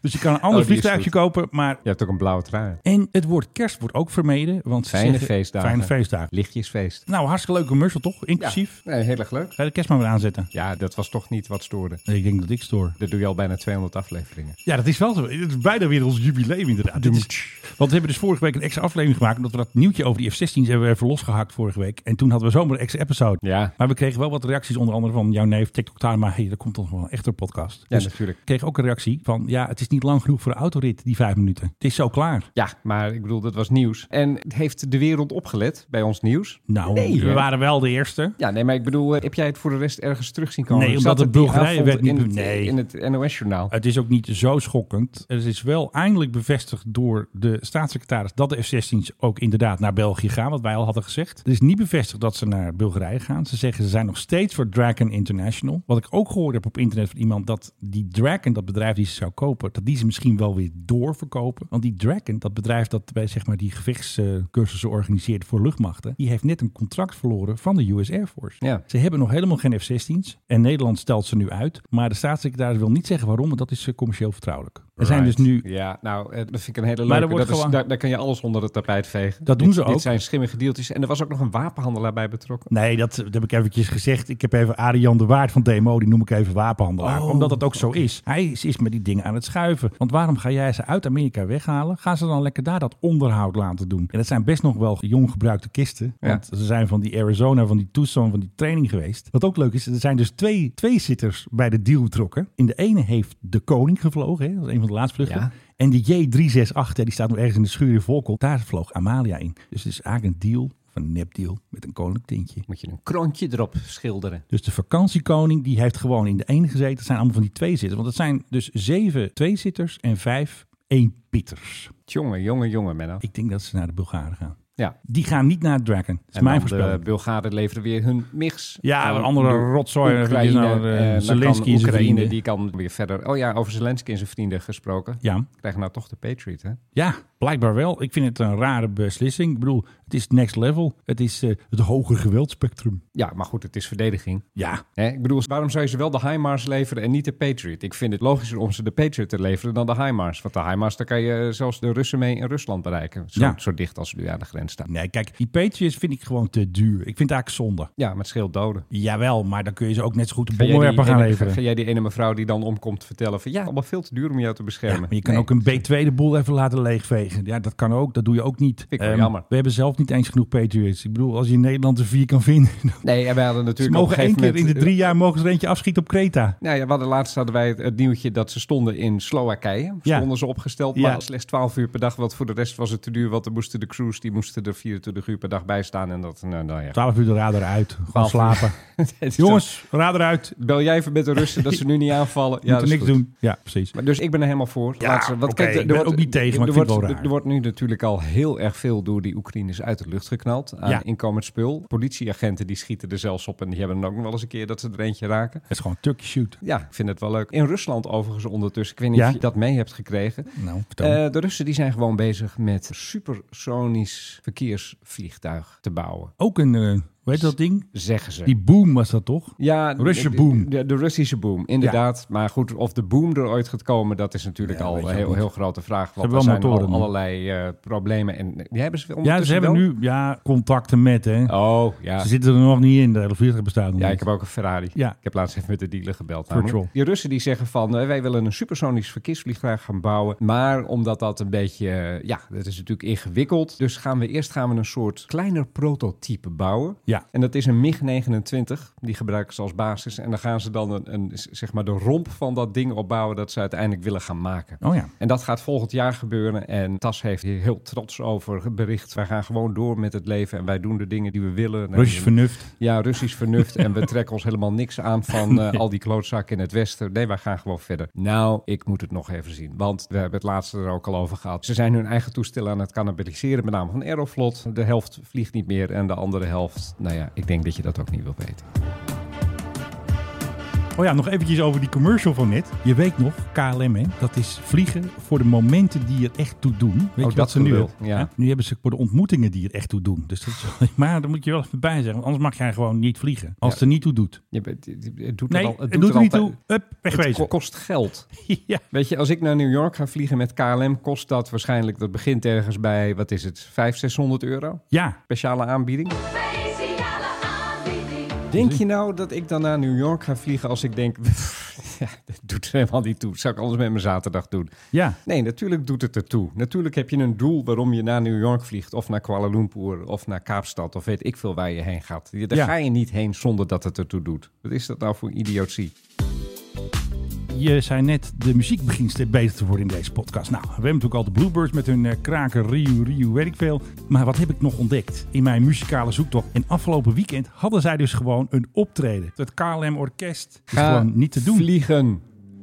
Dus je kan een ander
Oh, die is
vliegtuigje
goed.
kopen, maar...
Je hebt ook een blauwe trui.
En het woord kerst wordt ook vermeden, want ze
Fijne
zeggen-
feestdagen.
Fijne feestdagen.
Lichtjesfeest.
Nou, hartstikke leuk commercial toch? Inclusief.
Nee, heel erg leuk.
Ga je de kerstman weer aanzetten?
Ja, dat was toch niet wat stoorde.
Nee, ik denk dat ik stoor.
Dat doe je al bijna 200 afleveringen.
Ja, dat is wel zo. Het is bijna weer ons jubileum inderdaad. Dit is- want we hebben dus vorige week een extra aflevering gemaakt. Omdat we dat nieuwtje over die F-16's hebben we even losgehakt vorige week. En toen hadden we zomaar een extra episode.
Ja.
Maar we kregen wel wat reacties. Onder andere van jouw neef TikTok Time. Maar hey, er komt toch wel een echte podcast.
Ja,
Dus
natuurlijk.
Ik kreeg ook een reactie van... Ja, het is niet lang genoeg voor de autorit, die vijf minuten. Het is zo klaar.
Ja, maar ik bedoel, dat was nieuws. En heeft de wereld opgelet bij ons nieuws?
Nou,
Nee,
we
hè?
waren wel de eerste.
Ja, nee, maar ik bedoel, eh, heb jij het voor de rest ergens terug zien komen?
Nee,
Ik
omdat
zat
de
die
Bulgarije
avond
werd niet Eh,
in
be-
het,
nee.
in het NOS-journaal.
Het is ook niet zo schokkend. Het is wel eindelijk bevestigd door de staatssecretaris dat de F-16's ook inderdaad naar België gaan, wat wij al hadden gezegd. Het is niet bevestigd dat ze naar Bulgarije gaan. Ze zeggen ze zijn nog steeds voor Draken International. Wat ik ook gehoord heb op internet van iemand dat die Draken, dat bedrijf die ze zou kopen, dat die ze misschien wel weer doorverkopen. Want die Draken, dat bedrijf dat bij zeg maar die gevechtscursussen organiseert voor luchtmachten, die heeft net een contract verloren van de US Air Force.
Ja.
Ze hebben nog helemaal geen F-16's. En Nederland stelt ze nu uit. Maar de staatssecretaris wil niet zeggen waarom, want dat is eh, commercieel vertrouwelijk. Er zijn dus nu.
Ja, nou, eh, dat vind ik een hele
Maar er
leuke.
wordt
Dat is,
gewoon-
daar, daar kan je alles onder het tapijt vegen.
Dat doen
Dit-
ze ook.
Dit zijn schimmige deeltjes. En er was ook nog een wapenhandelaar bij betrokken.
Nee, dat, dat heb ik eventjes gezegd. Ik heb even Adrian de Waard van DMO, die noem ik even wapenhandelaar.
Oh,
omdat dat ook zo is. Hij is, is met die dingen aan het schuiven. Want waarom ga jij ze uit Amerika weghalen? Gaan ze dan lekker daar dat onderhoud laten doen? En dat zijn best nog wel jong gebruikte kisten.
Ja.
Want ze zijn van die Arizona, van die Tucson, van die training geweest. Wat ook leuk is, er zijn dus twee, twee zitters bij de deal betrokken. In de ene heeft de koning gevlogen, hè? dat is een van de laatste vluchten.
Ja.
En die J368, hè, die staat nog ergens in de schuur in Volkel. Daar vloog Amalia in. Dus het is eigenlijk een deal, of een nepdeal, met een koninklijk tintje.
Moet je een kroontje erop schilderen.
Dus de vakantiekoning die heeft gewoon in de ene gezeten. Dat zijn allemaal van die tweezitters. Want het zijn dus zeven tweezitters en vijf eenpieters.
Jongen, jongen, jongen, Menno.
Ik denk dat ze naar de Bulgaren gaan.
Ja.
Die gaan niet naar Dragon. Dat is
En
mijn
dan
voorspelling.
De Bulgaren leveren weer hun mix.
Ja,
Van
een andere
door
rotzooi.
Oekraïne,
Die is nou, eh,
eh, dan
Zelensky
kan
en zijn
Oekraïne,
vrienden.
Die kan weer verder. Oh ja, over Zelensky en zijn vrienden gesproken.
Ja.
Krijgen nou toch de Patriot, hè?
ja, blijkbaar wel. Ik vind het een rare beslissing. Ik bedoel, het is next level. Het is eh, het hoger geweldspectrum.
Ja, maar goed, het is verdediging.
Ja,
Hè? Ik bedoel, waarom zou je ze wel de HIMARS leveren en niet de Patriot? Ik vind het logischer om ze de Patriot te leveren dan de HIMARS. Want de HIMARS, daar kan je eh, zelfs de Russen mee in Rusland bereiken. Zo,
Ja.
zo dicht als ze nu aan de grens staan.
nee, kijk, die Patriots vind ik gewoon te duur. Ik vind het eigenlijk zonde.
Ja, maar het scheelt doden.
Jawel, maar dan kun je ze ook net zo goed de
Ga jij die
bommenwerper gaan
ene-
leveren.
Ga jij die ene mevrouw die dan omkomt vertellen van... Ja, allemaal veel te duur om jou te beschermen.
Ja, maar je kan
Nee.
ook een B2 de boel even laten leegvegen. Ja, dat kan ook. Dat doe je ook niet.
ik wel
Ehm,
jammer.
We hebben zelf niet eens genoeg Patriots. Ik bedoel, als je in Nederland er vier kan vinden. *laughs* dan-
Nee, en wij hadden
Ze
natuurlijk
mogen
op een
één
gegeven
keer in
moment... eh,
de drie jaar mogen ze er eentje afschieten op Kreta.
Nou ja, we hadden laatst hadden wij het, het nieuwtje dat ze stonden in Slowakije.
Ja.
Stonden ze opgesteld,
Ja.
maar slechts 12 uur per dag. Want voor de rest was het te duur, want er moesten de crews... die moesten er 24 uur per dag bij staan. En dat, nou, nou ja.
12 uur de radar uit. Gewoon
12 uur.
slapen.
*laughs* Het *laughs* is
Jongens, radar uit.
dan- Bel jij even met de Russen dat ze
*laughs*
nu niet aanvallen.
Ja,
dat is
niks
goed.
doen. Ja, precies.
Maar dus ik ben er helemaal voor.
Ja,
Laat ze-
oké,
er-
ik
er
ben
wordt-
ook niet tegen, maar
er
ik vind het
wordt-
wel raar.
Er wordt nu natuurlijk al heel erg veel door die Oekraïners uit de lucht geknald. Aan
Ja.
inkomend spul. Politieagenten die schieten er zelfs op. En die hebben dan ook nog wel eens een keer dat ze er eentje raken.
Het is gewoon Turkey shoot.
Ja, ik vind het wel leuk. In Rusland overigens ondertussen. Ik weet niet
Ja.
of je dat mee hebt gekregen.
Nou, vertel.
Eh, de Russen die zijn gewoon bezig met supersonisch verkeersvliegtuig te bouwen.
ook een, eh, hoe heet dat ding?
Zeggen ze.
Die boom was dat toch?
Ja,
Russische
de-
boom.
De, de Russische boom, inderdaad. Maar goed, of de boom er ooit gaat komen, dat is natuurlijk
Ja,
al
weet je
een
ook
heel,
niet.
heel grote vraag. Want
hebben
er
wel
zijn al
motoren nu.
allerlei eh, problemen. En die hebben ze
Ja, ze
ondertussen
hebben
wel?
nu ja, contacten met. Hè.
Oh, ja.
Ze zitten er nog niet in. De hele vliegtuig bestaat nog
Ja, ik
niet.
heb ook een Ferrari.
Ja.
Ik heb laatst even met de dealer gebeld.
Virtual.
namelijk. Die Russen die zeggen van, eh, wij willen een supersonisch verkeersvliegtuig gaan bouwen. Maar omdat dat een beetje, eh, ja, dat is natuurlijk ingewikkeld. Dus gaan we eerst gaan we een soort kleiner prototype bouwen.
Ja.
En dat is een MiG-29. Die gebruiken ze als basis. En dan gaan ze dan een, een, zeg maar de romp van dat ding opbouwen dat ze uiteindelijk willen gaan maken.
Oh ja.
En dat gaat volgend jaar gebeuren. En TAS heeft hier heel trots over bericht. Wij gaan gewoon door met het leven. En wij doen de dingen die we willen.
Russisch vernuft.
Ja, Russisch vernuft.
*laughs*
en we trekken ons helemaal niks aan van eh, al die klootzakken in het Westen. Nee, wij gaan gewoon verder. Nou, ik moet het nog even zien. Want we hebben het laatste er ook al over gehad. Ze zijn hun eigen toestellen aan het cannibaliseren. Met name van Aeroflot. De helft vliegt niet meer. En de andere helft. Nou ja, ik denk dat je dat ook niet wil weten.
Oh ja, nog eventjes over die commercial van net. Je weet nog, KLM, hè? dat is vliegen voor de momenten die er echt toe doen. Weet je wat
Oh, dat
ze nu
gelul,
hebben?
ja.
Hè? Nu hebben ze voor de ontmoetingen die er echt toe doen. Dus dat is, *laughs* maar daar moet je wel even bij zeggen, want anders mag jij gewoon niet vliegen. Als
Ja.
het er niet toe doet.
Je bent- het, het- het doet
Nee,
er al,
het doet er niet
altijd-
toe. Hup, wegwezen.
Het kost geld.
*laughs* Ja.
Weet je, als ik naar New York ga vliegen met KLM, kost dat waarschijnlijk, dat begint ergens bij, wat is het, 500, 600 euro?
Ja.
Speciale aanbieding. Denk je nou dat ik dan naar New York ga vliegen als ik denk, *laughs* ja, dat doet er helemaal niet toe. Zou ik anders met mijn zaterdag doen?
Ja.
Nee, natuurlijk doet het ertoe. Natuurlijk heb je een doel waarom je naar New York vliegt, of naar Kuala Lumpur, of naar Kaapstad, of weet ik veel waar je heen gaat. Je- Daar
Ja.
ga je niet heen zonder dat het ertoe doet. Wat is dat nou voor idiotie?
Je zei net, de muziek begint steeds beter te worden in deze podcast. Nou, we hebben natuurlijk al de Bluebirds met hun eh, kraken, Riu, Riu, weet ik veel. Maar wat heb ik nog ontdekt in mijn muzikale zoektocht? En afgelopen weekend hadden zij dus gewoon een optreden. Het KLM Orkest is
Ga
gewoon niet te doen.
Vliegen.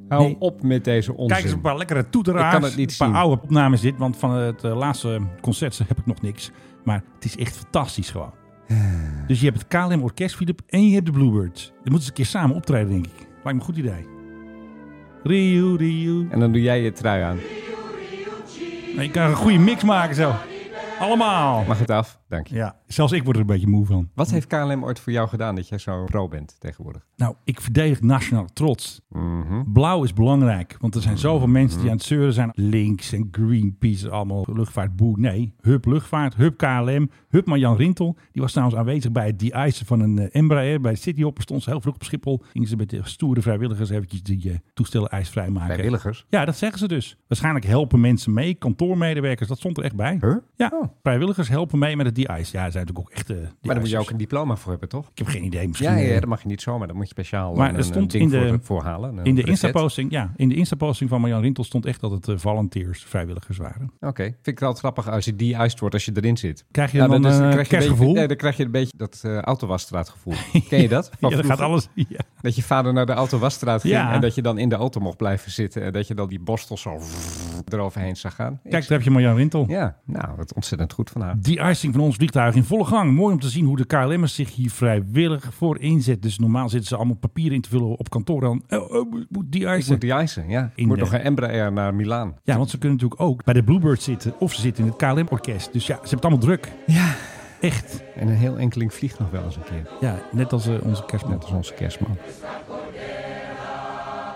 Hou
Nee.
op met deze onzin.
Kijk eens, een paar lekkere toeteraars.
Ik kan het niet
een paar
zien.
oude opnames dit, want van het eh, laatste concert heb ik nog niks. Maar het is echt fantastisch gewoon.
Ah.
Dus je hebt het KLM Orkest, Philip, en je hebt de Bluebirds. Dan moeten ze een keer samen optreden, denk ik. Lijkt me een goed idee. Riu, Riu.
En dan doe jij je trui aan.
Nou, je kan een goede mix maken zo. Allemaal.
Mag het af? Dank je.
Ja, zelfs ik word er een beetje moe van.
Wat heeft KLM ooit voor jou gedaan dat jij zo pro bent tegenwoordig?
Nou, ik verdedig nationaal trots. Blauw is belangrijk, want er zijn zoveel mensen die aan het zeuren zijn. Links en Greenpeace, allemaal luchtvaartboe. Nee, Hup Luchtvaart, Hup KLM, Hup maar Jan Rintel. Die was trouwens aanwezig bij het de-icen van een eh, Embraer. Bij City Hopper stond ze heel vroeg op Schiphol. Gingen ze met de stoere vrijwilligers eventjes die eh, toestellen ijsvrij maken.
Vrijwilligers?
Ja, dat zeggen ze dus. Waarschijnlijk helpen mensen mee, kantoormedewerkers, dat stond er echt bij.
Huh?
Ja,
Oh.
vrijwilligers helpen mee met het de-ice. Ja, ze zijn natuurlijk ook echte
Maar daar moet je
de-icers.
ook een diploma voor hebben, toch?
Ik heb geen idee, misschien...
Ja, ja,
eh,
dat mag je niet zomaar. Daar moet je speciaal
Maar
een,
er
een
stond
ding
in de-
voor, voor halen. een
In de,
recept.
Insta-posting, ja, in de Insta-posting van Marjan Rintel stond echt dat het eh, volunteers, vrijwilligers waren.
Oké, vind ik wel grappig als je die iced wordt als je erin zit.
Krijg je
Nou,
dan,
is-
een eh,
krijg je een
kerstgevoel?
beetje, nee, dan krijg je een beetje dat eh autowasstraatgevoel. Ken je dat?
*laughs*
Van
ja, dat gaat
vroeger?
alles. *laughs* Ja.
Dat je vader naar de autowasstraat ging
Ja.
en dat je dan in de auto mocht blijven zitten. En dat je dan die borstel zo *laughs* eroverheen zag gaan. Ik-
Kijk, daar heb je Marjan Rintel.
Ja, nou, wat ontzettend goed van haar.
Die icing van ons vliegtuig in volle gang. Mooi om te zien hoe de KLM'ers zich hier vrijwillig voor inzet. Dus normaal zitten ze allemaal papieren in te vullen op kantoor. Dan oh, oh, moet die
Ik moet
icing.
die ijzen, ja. Ik
In
moet
de-
nog een Embraer naar Milaan.
Ja, want ze kunnen natuurlijk ook bij de Bluebird zitten. Of ze zitten in het KLM-orkest. Dus ja, ze hebben het allemaal druk.
Ja.
Echt.
En een heel enkeling vliegt nog wel eens een keer.
Ja, net als eh, onze kerstman.
Net als onze kerstman.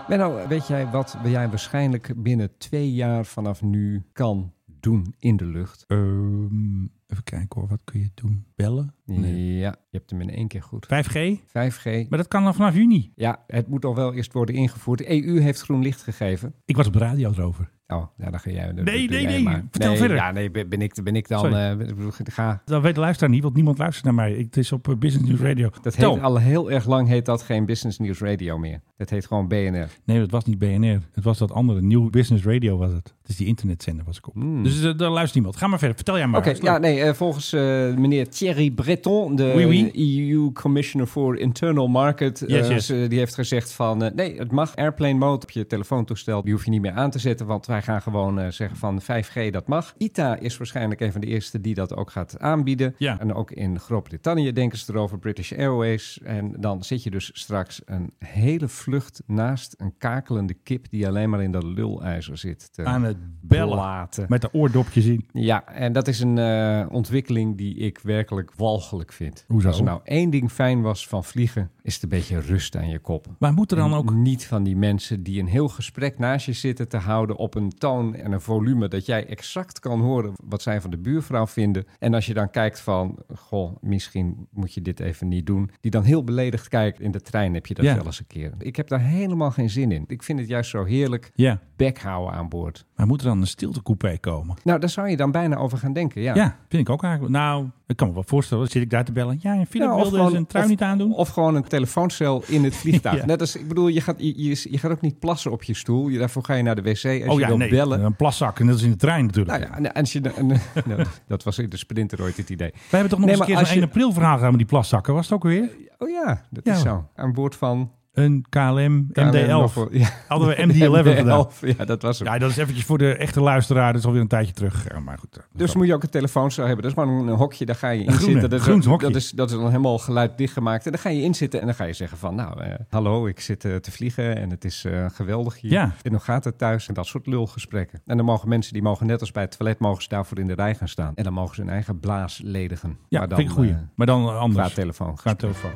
Menno, weet jij wat jij waarschijnlijk binnen twee jaar vanaf nu kan doen in de lucht?
Ehm, even kijken hoor, wat kun je doen? Bellen?
Ja, je hebt hem in één keer goed.
5G?
5G.
Maar dat kan dan vanaf juni.
Ja, het moet al wel eerst worden ingevoerd. De EU heeft groen licht gegeven.
Ik was op de radio erover.
Oh, ja, dan ga jij. Nee,
nee, nee. Vertel verder.
Ja, nee, ben ben ik, ben ik dan. eh,
Sorry.
ik bedoel, ga.
Dat weet de luisteraar niet, want niemand luistert naar mij. Ik- Het is op eh, Business News Radio.
Dat heet
Vertel.
al heel erg lang heet dat geen Business News Radio meer. Dat heet gewoon BNR.
Nee, dat was niet BNR. Het was dat andere. Nieuw Business Radio was het. Het is die internetzender was ik op. Dus eh, daar luistert niemand. Ga maar verder. Vertel jij maar.
Oké,
Is leuk.
ja, nee, eh, volgens eh, meneer Thierry Breton, de E
Oui, oui.
EU-commissioner voor Internal Market, eh,
Yes, yes.
ze- die heeft gezegd van, eh, nee, het mag airplane mode op je telefoontoestel, die hoef je niet meer aan te zetten, want wij gaan gewoon eh, zeggen van 5G, dat mag. ITA is waarschijnlijk een van de eerste die dat ook gaat aanbieden.
Ja.
En ook in Groot-Brittannië denken ze erover, British Airways. En dan zit je dus straks een hele vlucht naast een kakelende kip die alleen maar in dat lulijzer zit. te
Aan het bellen.
blaten.
Met de oordopjes in.
Ja, en dat is een eh, ontwikkeling die ik werkelijk walgelijk vind.
Hoezo?
Als er nou één ding fijn was van vliegen, is het een beetje rust aan je kop.
Maar moet er dan
En
ook...
Niet van die mensen die een heel gesprek naast je zitten te houden op een toon en een volume dat jij exact kan horen wat zij van de buurvrouw vinden. En als je dan kijkt van, goh, misschien moet je dit even niet doen. Die dan heel beledigd kijkt. In de trein heb je dat
Ja.
wel eens een keer. Ik heb daar helemaal geen zin in. Ik vind het juist zo heerlijk
Ja,
bek houden aan boord.
maar moet er dan een stiltecoupé komen?
Nou, daar zou je dan bijna over gaan denken,
Ja. vind ik ook eigenlijk. Nou, ik kan me wel voorstellen. Dan zit ik daar te bellen. Ja, en Philip
Ja, of
wilde
gewoon-
zijn trui
of-
niet aandoen.
Of gewoon een telefooncel in het
*laughs*
vliegtuig.
Ja.
Net als, ik bedoel, je gaat, je, je, je gaat ook niet plassen op je stoel. Je, daarvoor ga je naar de wc. Als
oh
je
ja,
wilt
nee.
bellen.
Een plaszak. En dat is in de trein natuurlijk.
Nou ja, en als je, dan- en, *laughs* eh, nou, dat was in de sprinter ooit het idee.
Wij hebben toch nog
Nee,
eens een keer
maar
zo'n
als
1
je-
april verhaal gedaan met die plaszakken. Was het ook weer?
Oh ja, dat
Ja.
is zo. Aan boord van
een KLM MD-11.
nog wel- ja.
*laughs* Hadden we MD-11 gedaan.
Ja, dat was het.
Ja, dat is eventjes voor de echte luisteraar. Dat is alweer een tijdje terug. Ja, maar goed. eh,
Dus moet je ook een telefoonstel hebben. Dat is maar een, een hokje, daar ga je in
Een groene,
zitten. Dat, is-
groen
dat,
hokje.
is, dat is dan helemaal geluid dichtgemaakt. En dan ga je in zitten en dan ga je zeggen van... Nou, eh, hallo, ik zit eh, te vliegen en het is eh, geweldig hier.
Ja.
En hoe gaat het thuis? En dat soort lulgesprekken. En dan mogen mensen, die mogen net als bij het toilet... mogen ze daarvoor in de rij gaan staan. En dan mogen ze hun eigen blaas ledigen.
Ja,
Maar dan,
vind ik een goeie.
eh,
maar dan eh, anders.
qua telefoon.
Qua telefoon.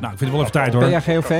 Nou, ik vind het wel even tijd hoor.
Ben jij GOV?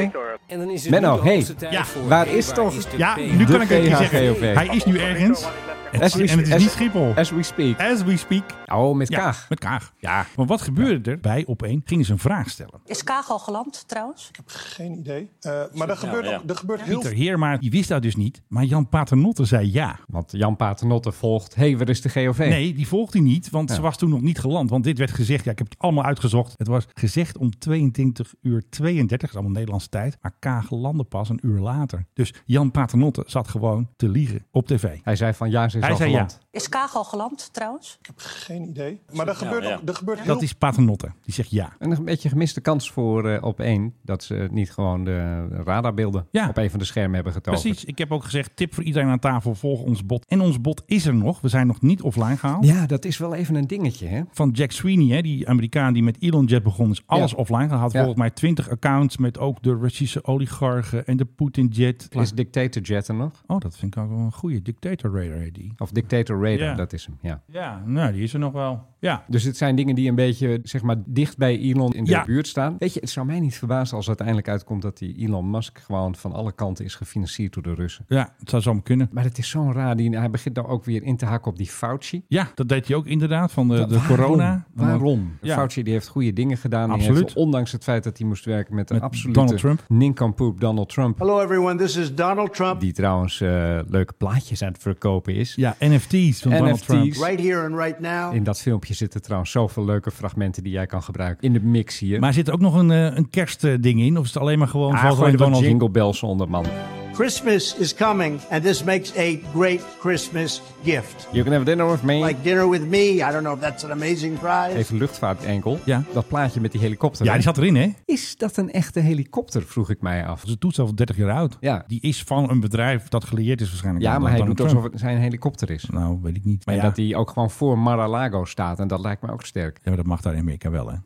En dan is het
Menno,
nu de
hey,
hoogste tijd
Ja.
voor
waar
hey,
is toch-
de
Ja,
P?
nu kan ik het niet zeggen.
PHGOV.
Hij is nu ergens. Het
As
is,
we-
en het is
as-
niet Schiphol.
As we speak.
As we speak.
Oh, met
Ja,
kaag.
Met Kaag. Ja. Maar wat gebeurde er bij Opeen? Gingen ze een vraag stellen.
Is Kaag al geland trouwens?
Geen idee. Eh, maar er gebeurt, ook- er gebeurt heel
Pieter Heerma, die wist dat dus niet. Maar Jan Paternotte zei ja.
Want Jan Paternotte volgt... Hé, hey, waar is de GOV?
Nee, die volgt hij niet, want
Ja.
ze was toen nog niet geland. Want dit werd gezegd, ja, ik heb het allemaal uitgezocht. Het was gezegd om 22 uur 32, dat is allemaal Nederlandse tijd. Maar Kaag landde pas een uur later. Dus Jan Paternotte zat gewoon te liegen op tv.
Hij zei van ja, ze is
Hij
al
zei
geland.
Is Kaag al geland trouwens?
Geen idee. Maar er gebeurt, ook- er gebeurt heel
Dat is Paternotte, die zegt ja.
En een beetje gemiste kans voor eh, op één dat ze niet gewoon de radarbeelden
Ja.
op een van de schermen hebben getoverd.
Precies, ik heb ook gezegd, tip voor iedereen aan tafel, volg ons bot. En ons bot is er nog, we zijn nog niet offline gehaald.
Ja, dat is wel even een dingetje, hè?
Van Jack Sweeney, hè, die Amerikaan die met ElonJet begon, is alles
Ja.
offline gehaald.
Ja.
Volgens mij 20 accounts met ook de Russische oligarchen en de Poetinjet.
Is Dictator Jet er nog?
Oh, dat vind ik ook wel een goede dictator radar heet die.
Of Dictator Radar,
Ja.
dat is hem, ja.
Ja, nou, die is er nog wel. Ja.
Dus het zijn dingen die een beetje, zeg maar, dicht bij Elon in de
Ja.
buurt staan. Weet je, het zou mij niet verbazen als uiteindelijk uitkomt dat die Elon Musk gewoon van alle kanten is gefinancierd door de Russen.
Ja, het zou zomaar kunnen.
Maar het is zo'n raar, die, hij begint dan ook weer in te hakken op die Fauci.
Ja, dat deed hij ook inderdaad, van de, de
Waarom?
corona.
Waarom?
Ja.
Fauci die heeft goede dingen gedaan. Hij
Absoluut.
heeft, ondanks het feit dat hij moest werken met,
Met
de absolute
Donald Trump.
ninkampoop Donald Trump.
Hello, everyone. This is Donald Trump
Die trouwens eh, leuke plaatjes aan het verkopen is.
Ja, NFT's van Donald
NFT's.
Trump.
right here and right now.
In dat filmpje zitten trouwens zoveel leuke fragmenten die jij kan gebruiken. In de mix hier.
Maar zit er ook nog een, eh, een kerstding in? Of is het alleen maar gewoon...
ah,
valt
gooi
alleen
er wat
Donald
jingle bells onder, man.
Christmas is coming, and this makes a great Christmas gift.
You can have dinner with me.
Like dinner with me. I don't know if that's an amazing prize.
Even luchtvaartenkel.
Ja.
Dat plaatje met die helikopter.
Ja,
hè?
die zat erin, hè?
Is dat een echte helikopter, vroeg ik mij af.
Dat is een toestel van 30 jaar oud.
Ja,
Die is van een bedrijf dat gelieerd is waarschijnlijk.
ja
aan
maar hij
Donald
doet
Trump.
alsof het zijn helikopter is.
Nou, weet ik niet. Maar
en
ja,
dat hij ook gewoon voor Mar-a-Lago staat. En dat lijkt me ook sterk.
ja, maar dat mag daar in Amerika wel, hè?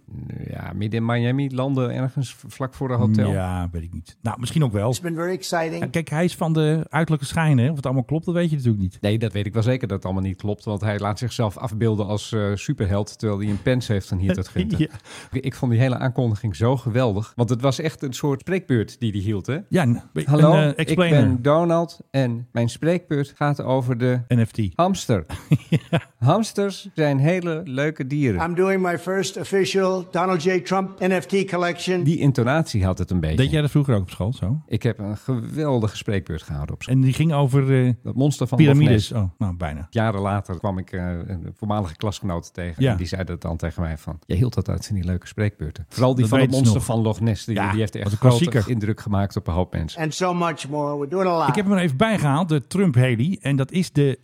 Ja, midden in Miami landen ergens v- vlak voor een hotel.
Ja, weet ik niet. Nou, misschien ook wel.
It's been very
Ja,
exciting.
Kijk, hij is van de uiterlijke schijnen. Of het allemaal klopt, dat weet je natuurlijk niet.
Nee, dat weet ik wel zeker dat het allemaal niet klopt. Want hij laat zichzelf afbeelden als eh, superheld. Terwijl hij een pens heeft en hier *laughs* dat Gunther.
Ja.
Ik vond die hele aankondiging zo geweldig. Want het was echt een soort spreekbeurt die hij hield. Hè?
Ja, een,
Hallo,
een, eh,
ik
explainer.
ben Donald. En mijn spreekbeurt gaat over de
NFT.
*laughs* hamster. Hamsters zijn hele leuke dieren.
I'm doing my first official Donald J. Trump NFT collection.
Die intonatie had het een beetje.
Deed jij dat vroeger ook op school zo?
Ik heb een geweldige spreekbeurt gehouden op school.
En die ging over eh,
Dat monster van Loch
piramides.
Ness.
Oh, nou, bijna.
Jaren later kwam ik eh, een voormalige klasgenoot tegen.
Ja.
En die zei dat dan tegen mij van... Je hield dat uit van die leuke spreekbeurten. Vooral die
Dat
van het
weten ze
monster
nog.
van Loch Ness. Die,
Ja,
die heeft echt
wat
een
een
grote
klassieker.
indruk gemaakt op een hoop mensen.
And so much more. We're doing a lot.
Ik heb hem er even bijgehaald, de Trump Haley. En dat is de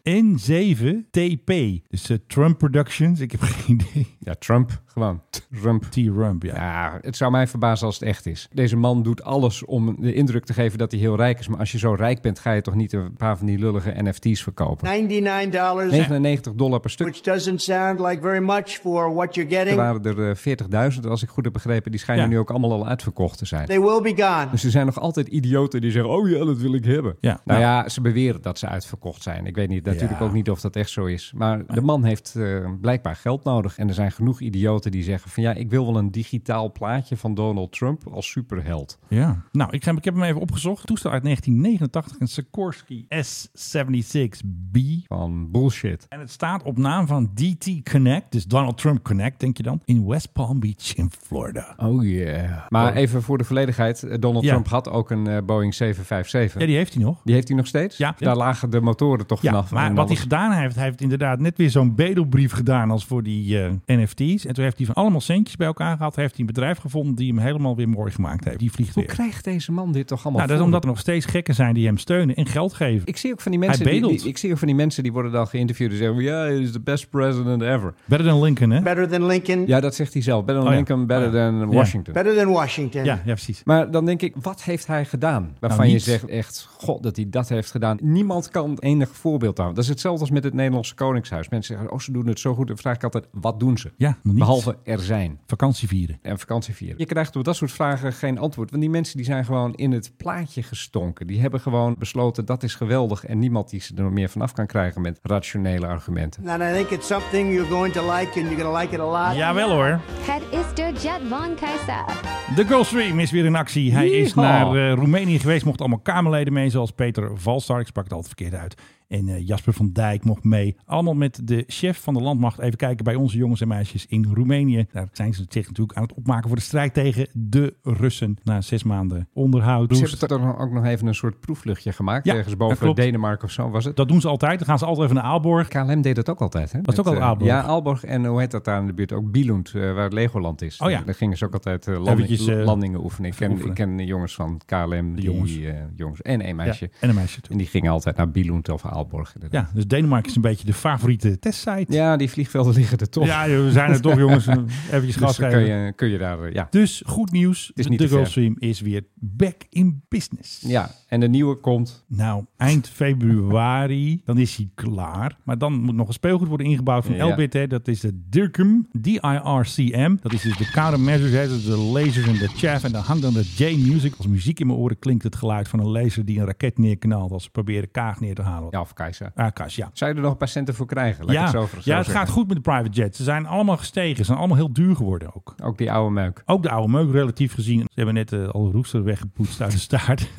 N7TP. Dus eh, Trump Productions. Ik heb *laughs* geen idee.
Ja, Trump gewoon. Trump.
T-Rump, ja.
Ja, het zou mij verbazen als het echt is. Deze man doet alles om de indruk te geven dat hij heel rijk is. Maar als je zo rijk bent, ga je toch niet een paar van die lullige NFT's verkopen.
$99,
99 dollar per stuk.
which doesn't sound like very much for what you're
Er
getting.
waren er eh, 40.000, als ik goed heb begrepen. Die schijnen
Ja.
nu ook allemaal al uitverkocht te zijn.
They will be gone.
Dus er zijn nog altijd idioten die zeggen: Oh ja, dat wil ik hebben.
Ja.
nou ja, ze beweren dat ze uitverkocht zijn. Ik weet niet, natuurlijk
Ja.
ook niet of dat echt zo is. Maar de man heeft eh, blijkbaar geld nodig. En er zijn genoeg idioten die zeggen: Van ja, ik wil wel een digitaal plaatje van Donald Trump als superheld.
Ja. Nou, ik, ga, ik heb hem even opgezocht. Toestel uit 1989, een Sikorsky S76B.
Van bullshit.
En het staat op naam van DT Connect, dus Donald Trump Connect, denk je dan, in West Palm Beach in Florida.
Oh yeah. Maar even voor de volledigheid: eh, Donald
Ja.
Trump had ook een eh, Boeing 757.
Ja,
die...
die heeft hij nog.
heeft hij nog steeds?
Ja.
Daar lagen de motoren toch
Ja,
vanaf.
maar
en
wat hij
alles.
gedaan heeft, hij heeft inderdaad net weer zo'n bedelbrief gedaan als voor die eh, NFT's. En toen heeft hij van allemaal centjes bij elkaar gehad. Heeft hij een bedrijf gevonden die hem helemaal weer mooi gemaakt heeft. Die vliegt
Hoe
weer.
krijgt deze man dit toch allemaal
Nou, dat is
voor?
omdat er nog steeds gekken zijn die hem steunen en geld geven.
Ik zie ook van die mensen,
Hij
die,
bedelt.
die- ik zie ook van die mensen die worden dan geïnterviewd en zeggen: Ja, hij is the best president ever.
Better than Lincoln, hè?
Better than Lincoln.
Ja, dat zegt hij zelf. Better than
Oh ja.
Lincoln, better than Washington.
Better than Washington.
Ja, ja, precies.
Maar dan denk ik, wat heeft hij gedaan? Waarvan je
niets.
zegt echt, god, dat hij dat heeft gedaan. Niemand kan enig voorbeeld aan. Dat is hetzelfde als met het Nederlandse Koningshuis. Mensen zeggen, oh, ze doen het zo goed. Dan vraag ik altijd, wat doen ze?
Ja, niets.
Behalve er zijn
Vakantie vieren.
en vakantie vieren. Je krijgt door dat soort vragen geen antwoord. Want die mensen die zijn gewoon in het plaatje gestonken. Die hebben gewoon besloten, dat is geweldig. En niemand die ze er meer vanaf kan krijgen met rationele argumenten.
And I think it's something you're going to like and you're going to like it a lot.
Jawel hoor.
Het is de Jet Van Kaiser.
De Girl Stream is weer in actie. Hij is
Yeehaw.
naar eh, Roemenië geweest. Mochten allemaal Kamerleden mee, zoals Peter Valstar. Ik sprak het altijd verkeerd uit. En eh, Jasper van Dijk mocht mee. Allemaal met de chef van de landmacht. Even kijken bij onze jongens en meisjes in Roemenië. Daar zijn ze zich natuurlijk aan het opmaken voor de strijd tegen de Russen. Na zes maanden onderhoud.
Ze
roest.
hebben toch ook nog even een soort proefluchtje gemaakt.
Ja,
ergens
dat
boven
klopt.
Denemarken of zo was het.
Dat doen ze altijd. Dan gaan ze altijd even naar Aalborg.
KLM deed dat ook altijd, hè?
Was het ook al
Met, eh,
Aalborg?
Ja, Aalborg en hoe heet dat daar in de buurt? Ook Bielund, eh, waar Legoland is.
Oh ja.
Daar gingen ze ook altijd eh, landing-
Eventjes, eh,
landingen oefenen. Ik ken,
oefenen.
ik ken de jongens van KLM, die,
jongens.
jongens. jongens en één meisje.
Ja, en een meisje toe.
En die gingen altijd naar Bielund of Aalborg. inderdaad.
Ja, dus Denemarken is een beetje de favoriete testsite.
Ja, die vliegvelden *laughs* liggen er toch.
Ja, joh, we zijn er
*laughs*
toch jongens. Even
dus
gas
dan kun
geven.
je, kun je daar, eh, ja.
Dus goed nieuws.
is
De
niet te
Girl
ver.
Stream is weer back in business.
ja. En de nieuwe komt.
Nou, eind februari, dan is hij klaar. Maar dan moet nog een speelgoed worden ingebouwd van
Ja.
LBT. Dat is de DIRCM, D-I-R-C-M. Dat is dus de countermeasures, hè, dus de lasers en de chaff. En daar hangt dan de J-music. Als muziek in mijn oren klinkt het geluid van een laser die een raket neerknalt... als ze proberen Kaag neer te halen.
Ja, of Keizer.
Ah, Kaas, ja.
Zou je er nog een paar centen voor krijgen? Laat ik
ja,
het zo
ja,
zo
het
zeggen.
gaat goed met de private jets. Ze zijn allemaal gestegen. Ze zijn allemaal heel duur geworden ook.
Ook die oude meuk. *laughs*
Ook de oude meuk relatief gezien. Ze hebben net eh, al roester weggepoetst uit de
*laughs*
staart. *laughs*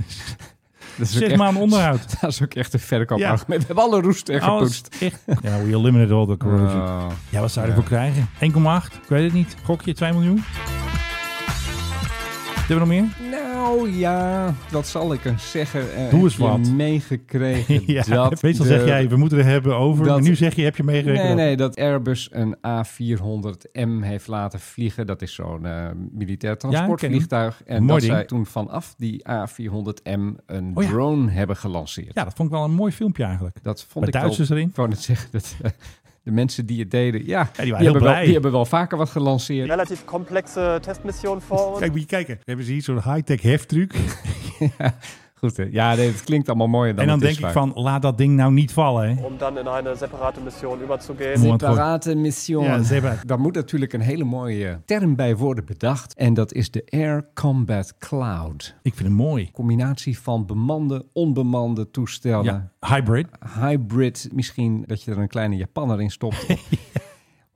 Dat is ook
Zeg
echt-
maar een onderhoud.
*laughs* Dat is ook echt een
Ja.
verkoopargument. We hebben alle roest en
Alles
gepoetst.
echt. Ja, we eliminate all the corrosion.
Oh.
Ja, wat zou je ervoor krijgen? 1,8? Ik weet het niet. Gokje, 2 miljoen? Hebben we nog meer?
Nou ja, dat zal ik eens zeggen. Eh,
Doe eens
heb je
wat.
meegekregen
*laughs*
dat...
meestal
de-
zeg jij, we moeten er hebben over.
dat-
maar nu zeg je, heb je meegerekend?
Nee, nee, dat Airbus een A400M heeft laten vliegen. Dat is zo'n eh, militair transportvliegtuig. en
Mooi
dat
ding.
zij toen vanaf die A400M een
Oh ja.
drone hebben gelanceerd.
Ja, dat vond ik wel een mooi filmpje eigenlijk.
Dat vond
Met
ik wel-
Duitsers erin.
Ik wou net zeggen dat eh, de mensen die het deden... Ja, die,
heel
hebben
blij.
Wel, die hebben wel vaker wat gelanceerd.
Relativ komplexe Testmission vor uns.
Kijk, moet je kijken. Dan hebben ze hier zo'n high-tech heftruc.
Goed, hè? Ja, nee, het klinkt allemaal mooier dan
en dan
het is
denk ik
vaak.
van, laat dat ding nou niet vallen. Hè?
*laughs* um dann in eine separate Mission überzugehen.
Moment, hoor.
Separate mission.
Ja, zeker.
Daar moet natuurlijk een hele mooie term bij worden bedacht. En dat is de Air Combat Cloud.
Ik vind hem mooi.
Combinatie van bemande, onbemande toestellen.
Ja, hybrid.
Hybrid, misschien dat je er een kleine Japanner in
*laughs*
stopt.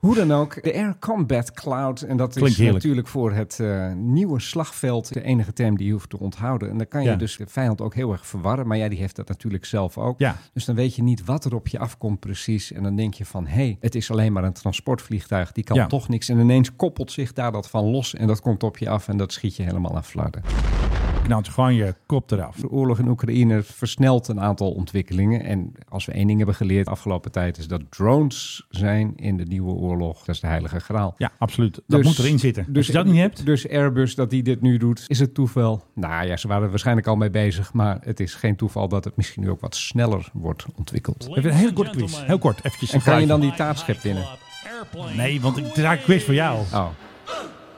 Hoe dan ook, de Air Combat Cloud. En dat
Klinkt
is
heerlijk.
natuurlijk voor het eh, nieuwe slagveld de enige term die je hoeft te onthouden. En dan kan je
Ja.
dus de vijand ook heel erg verwarren. Maar ja, die heeft dat natuurlijk zelf ook.
Ja.
Dus dan weet je niet wat er op je afkomt precies. En dan denk je van, hé, hey, het is alleen maar een transportvliegtuig. Die kan
Ja.
toch niks. En ineens koppelt zich daar dat van los. En dat komt op je af en dat schiet je helemaal aan flarden.
Knalt gewoon je kop eraf.
De oorlog in Oekraïne versnelt een aantal ontwikkelingen. En als we één ding hebben geleerd de afgelopen tijd... is dat drones zijn in de nieuwe oorlog. Dat is de heilige graal.
Ja, absoluut. Dat moet erin zitten. Dus, Als je dat niet hebt...
Dus Airbus dat die dit nu doet, is het toeval? Nou ja, ze waren er waarschijnlijk al mee bezig. Maar het is geen toeval dat het misschien nu ook wat sneller wordt ontwikkeld.
Even een hele korte quiz. Heel kort, eventjes.
En
een
kan je dan
geluidje.
die taartschip winnen?
Nee, want ik draai een quiz voor jou.
Oh.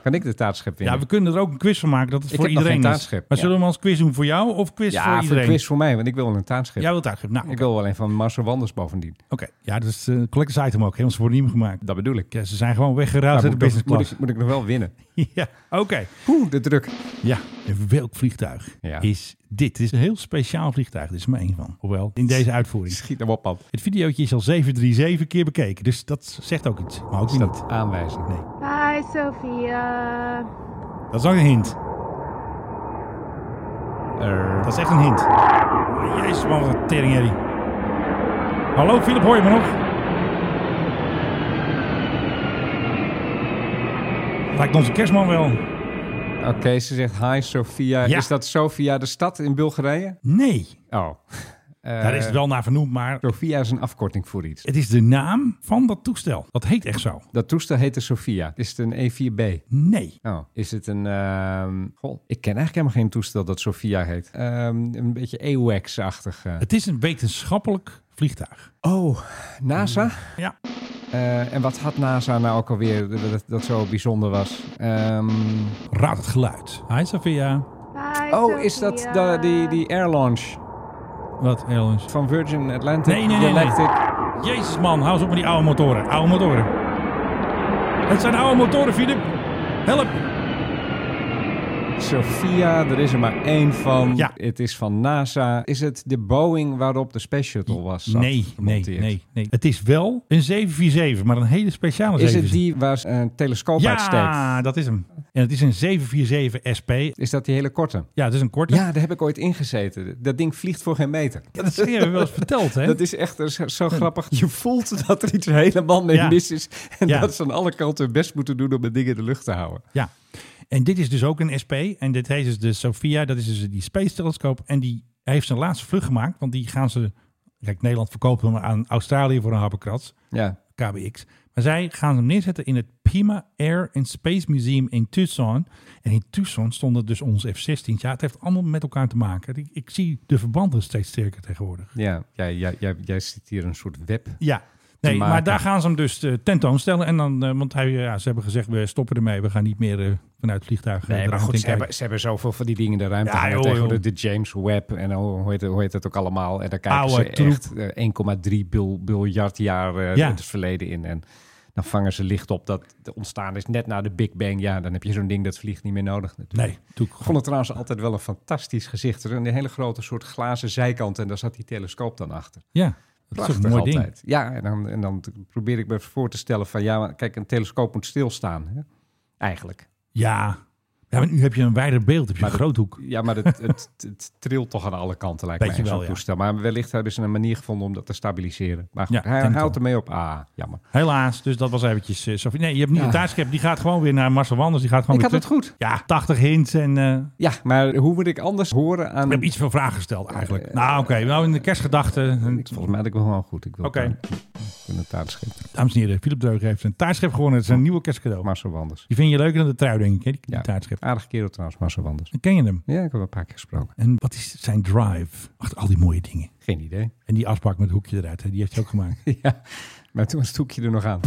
Kan ik de taartschip winnen?
Ja, we kunnen er ook een quiz van maken dat het
Ik
voor
heb nog
iedereen
geen
is. Maar
taartschip, ja.
zullen we hem als quiz doen voor jou of quiz
Ja,
voor
voor
iedereen?
quiz voor mij, want ik wil een taartschip.
Jij wilt taartschip. Nou,
Ik
oké.
wil wel een van Marcel Wanders bovendien.
Oké. Ja, dat is eh, een collectors item ook, hè, want ze worden niet meer gemaakt.
Dat bedoel ik.
Ja, ze zijn gewoon weggeruild
Maar
uit
moet,
de
ik nog-
business
moet,
class.
ik, moet ik nog wel winnen?
*laughs* ja, oké.
Oeh, de druk.
Ja, en welk vliegtuig
Ja.
is dit? Dit is een heel speciaal vliegtuig, dit is er maar één van. Hoewel, in deze uitvoering.
Schiet hem op, man.
Het videootje is al 737 keer bekeken, dus dat zegt ook iets. Maar ook
Is
weer
dat
niet.
aanwijzing?
Nee.
Hi, Sophia.
Dat is ook een hint. Dat is echt een hint. Oh, Jezus, man, wat een tering, Eddie. Hallo, Philip, hoor je me nog? Lijkt onze kerstman wel.
Oké, ze zegt hi Sofia.
Ja.
Is dat Sofia de stad in Bulgarije?
Nee.
Oh. *laughs*
Daar is het wel naar vernoemd, maar...
Sophia is een afkorting voor iets.
Het is de naam van dat toestel. Dat heet echt zo.
Dat toestel heette Sophia. Is het een E4B?
Nee.
Oh, is het een... ehm, goh, ik ken eigenlijk helemaal geen toestel dat Sophia heet. Ehm, een beetje AWACS-achtig. eh.
Het is een wetenschappelijk vliegtuig.
Oh, NASA?
Ja.
Eh, en wat had NASA nou ook alweer dat, dat- dat zo bijzonder was? Ehm,
Raad het geluid. Hi Sophia.
oh, is dat de, die, die air launch
Wat, Elens?
van Virgin Atlantic?
Nee, nee, nee, nee.
Galactic?
Jezus man, hou eens op met die oude motoren. Oude motoren. Het zijn oude motoren, Filip. Help.
Sophia, er is er maar één van.
Ja.
Het is van NASA. Is het de Boeing waarop de Space Shuttle was? zat
Nee, nee,
gemonteerd?
nee, nee. Het is wel een 747, maar een hele speciale
Is het
747.
die waar ze een telescoop uitsteekt?
Ja, dat is hem. En het is een 747 SP.
Is dat die hele korte?
Ja, het is een korte.
Ja, daar heb ik ooit ingezeten. Dat ding vliegt voor geen meter.
Ja, dat heb je wel eens verteld, hè?
Dat is echt zo, zo grappig. Je voelt dat er iets helemaal mee
Ja.
mis is. En
Ja.
dat ze aan alle kanten hun best moeten doen om het ding in de lucht te houden.
Ja. En dit is dus ook een SP. En dit heet dus de Sophia. Dat is dus die Space Telescoop. En die heeft zijn laatste vlucht gemaakt. Want die gaan ze... Kijk, Nederland verkoopt hem aan Australië voor een happenkrats.
Ja.
KBX. Maar zij gaan hem neerzetten in het Pima Air and Space Museum in Tucson. En in Tucson stonden dus onze F-16's. Ja, het heeft allemaal met elkaar te maken. Ik, ik zie de verbanden steeds sterker tegenwoordig.
Ja, jij, jij, jij, jij zit hier een soort web.
Ja, nee, maar
maken.
daar gaan ze hem dus eh, tentoonstellen. En dan, eh, want hij, ja, ze hebben gezegd, we stoppen ermee. We gaan niet meer eh, vanuit vliegtuigen.
Nee,
er
maar
aan
goed,
het
ze
in kijken.
hebben, ze hebben zoveel van die dingen in de ruimte.
Ja,
Ja,
joh, joh.
De James Webb en oh, hoe heet, het- hoe heet het ook allemaal. En daar kijken
Oude
ze
troep.
echt eh, 1,3 bil- biljard jaar eh,
Ja.
het verleden in. En dan vangen ze licht op dat het ontstaan is net na de Big Bang. Ja, dan heb je zo'n ding dat vliegt niet meer nodig. natuurlijk.
Nee, toen
Ik vond het trouwens altijd wel een fantastisch gezicht. Er is een hele grote soort glazen zijkant en daar zat die telescoop dan achter.
Ja, dat is
Prachtig
een mooi
altijd.
ding.
Ja, en dan, en dan probeer ik me voor te stellen van... ja, maar kijk, een telescoop moet stilstaan, hè? eigenlijk.
Ja. ja, maar nu heb je een wijder beeld. Heb je
Maar
een
dat-
groothoek.
Ja, maar het, het, het trilt toch aan alle kanten, lijkt
Beetje
mij,
wel,
zo'n
ja.
toestel. Maar wellicht hebben ze een manier gevonden om dat te stabiliseren. Maar goed,
Ja, ik
hij
denk het
houdt ermee op. Ah, jammer.
Helaas, dus dat was eventjes... eh, Sophie. Nee, je hebt niet
Ja.
de taartschep. Die gaat gewoon weer naar Marcel Wanders. Die gaat gewoon
ik had
weer
het goed.
terug. Ja, 80 hints en... eh,
Ja, maar hoe moet ik anders horen aan...
Ik heb iets veel vragen gesteld eigenlijk.
Eh,
nou, oké. Nou, in de kerstgedachte.
Volgens mij had ik wel gewoon goed. Ik wil
Oké.
het aan- ik wil het taartschip.
Dames en heren, Philip Deug heeft een taartschep gewonnen. Het is een nieuwe kerstcadeau.
Marcel Wanders.
Die vind je leuker dan de trui, denk ik. Hè? Die, die
Ja.
taartschep.
Aardig kerel trouwens, Marcel Wanders.
Dan ken je hem.
Ja, ik heb hem een paar keer gesproken.
En wat is zijn drive? Achter al die mooie dingen.
Geen idee.
En die afspraak met het hoekje eruit, hè? die heeft hij ook
*laughs*
gemaakt.
Ja, maar toen was het hoekje er nog aan.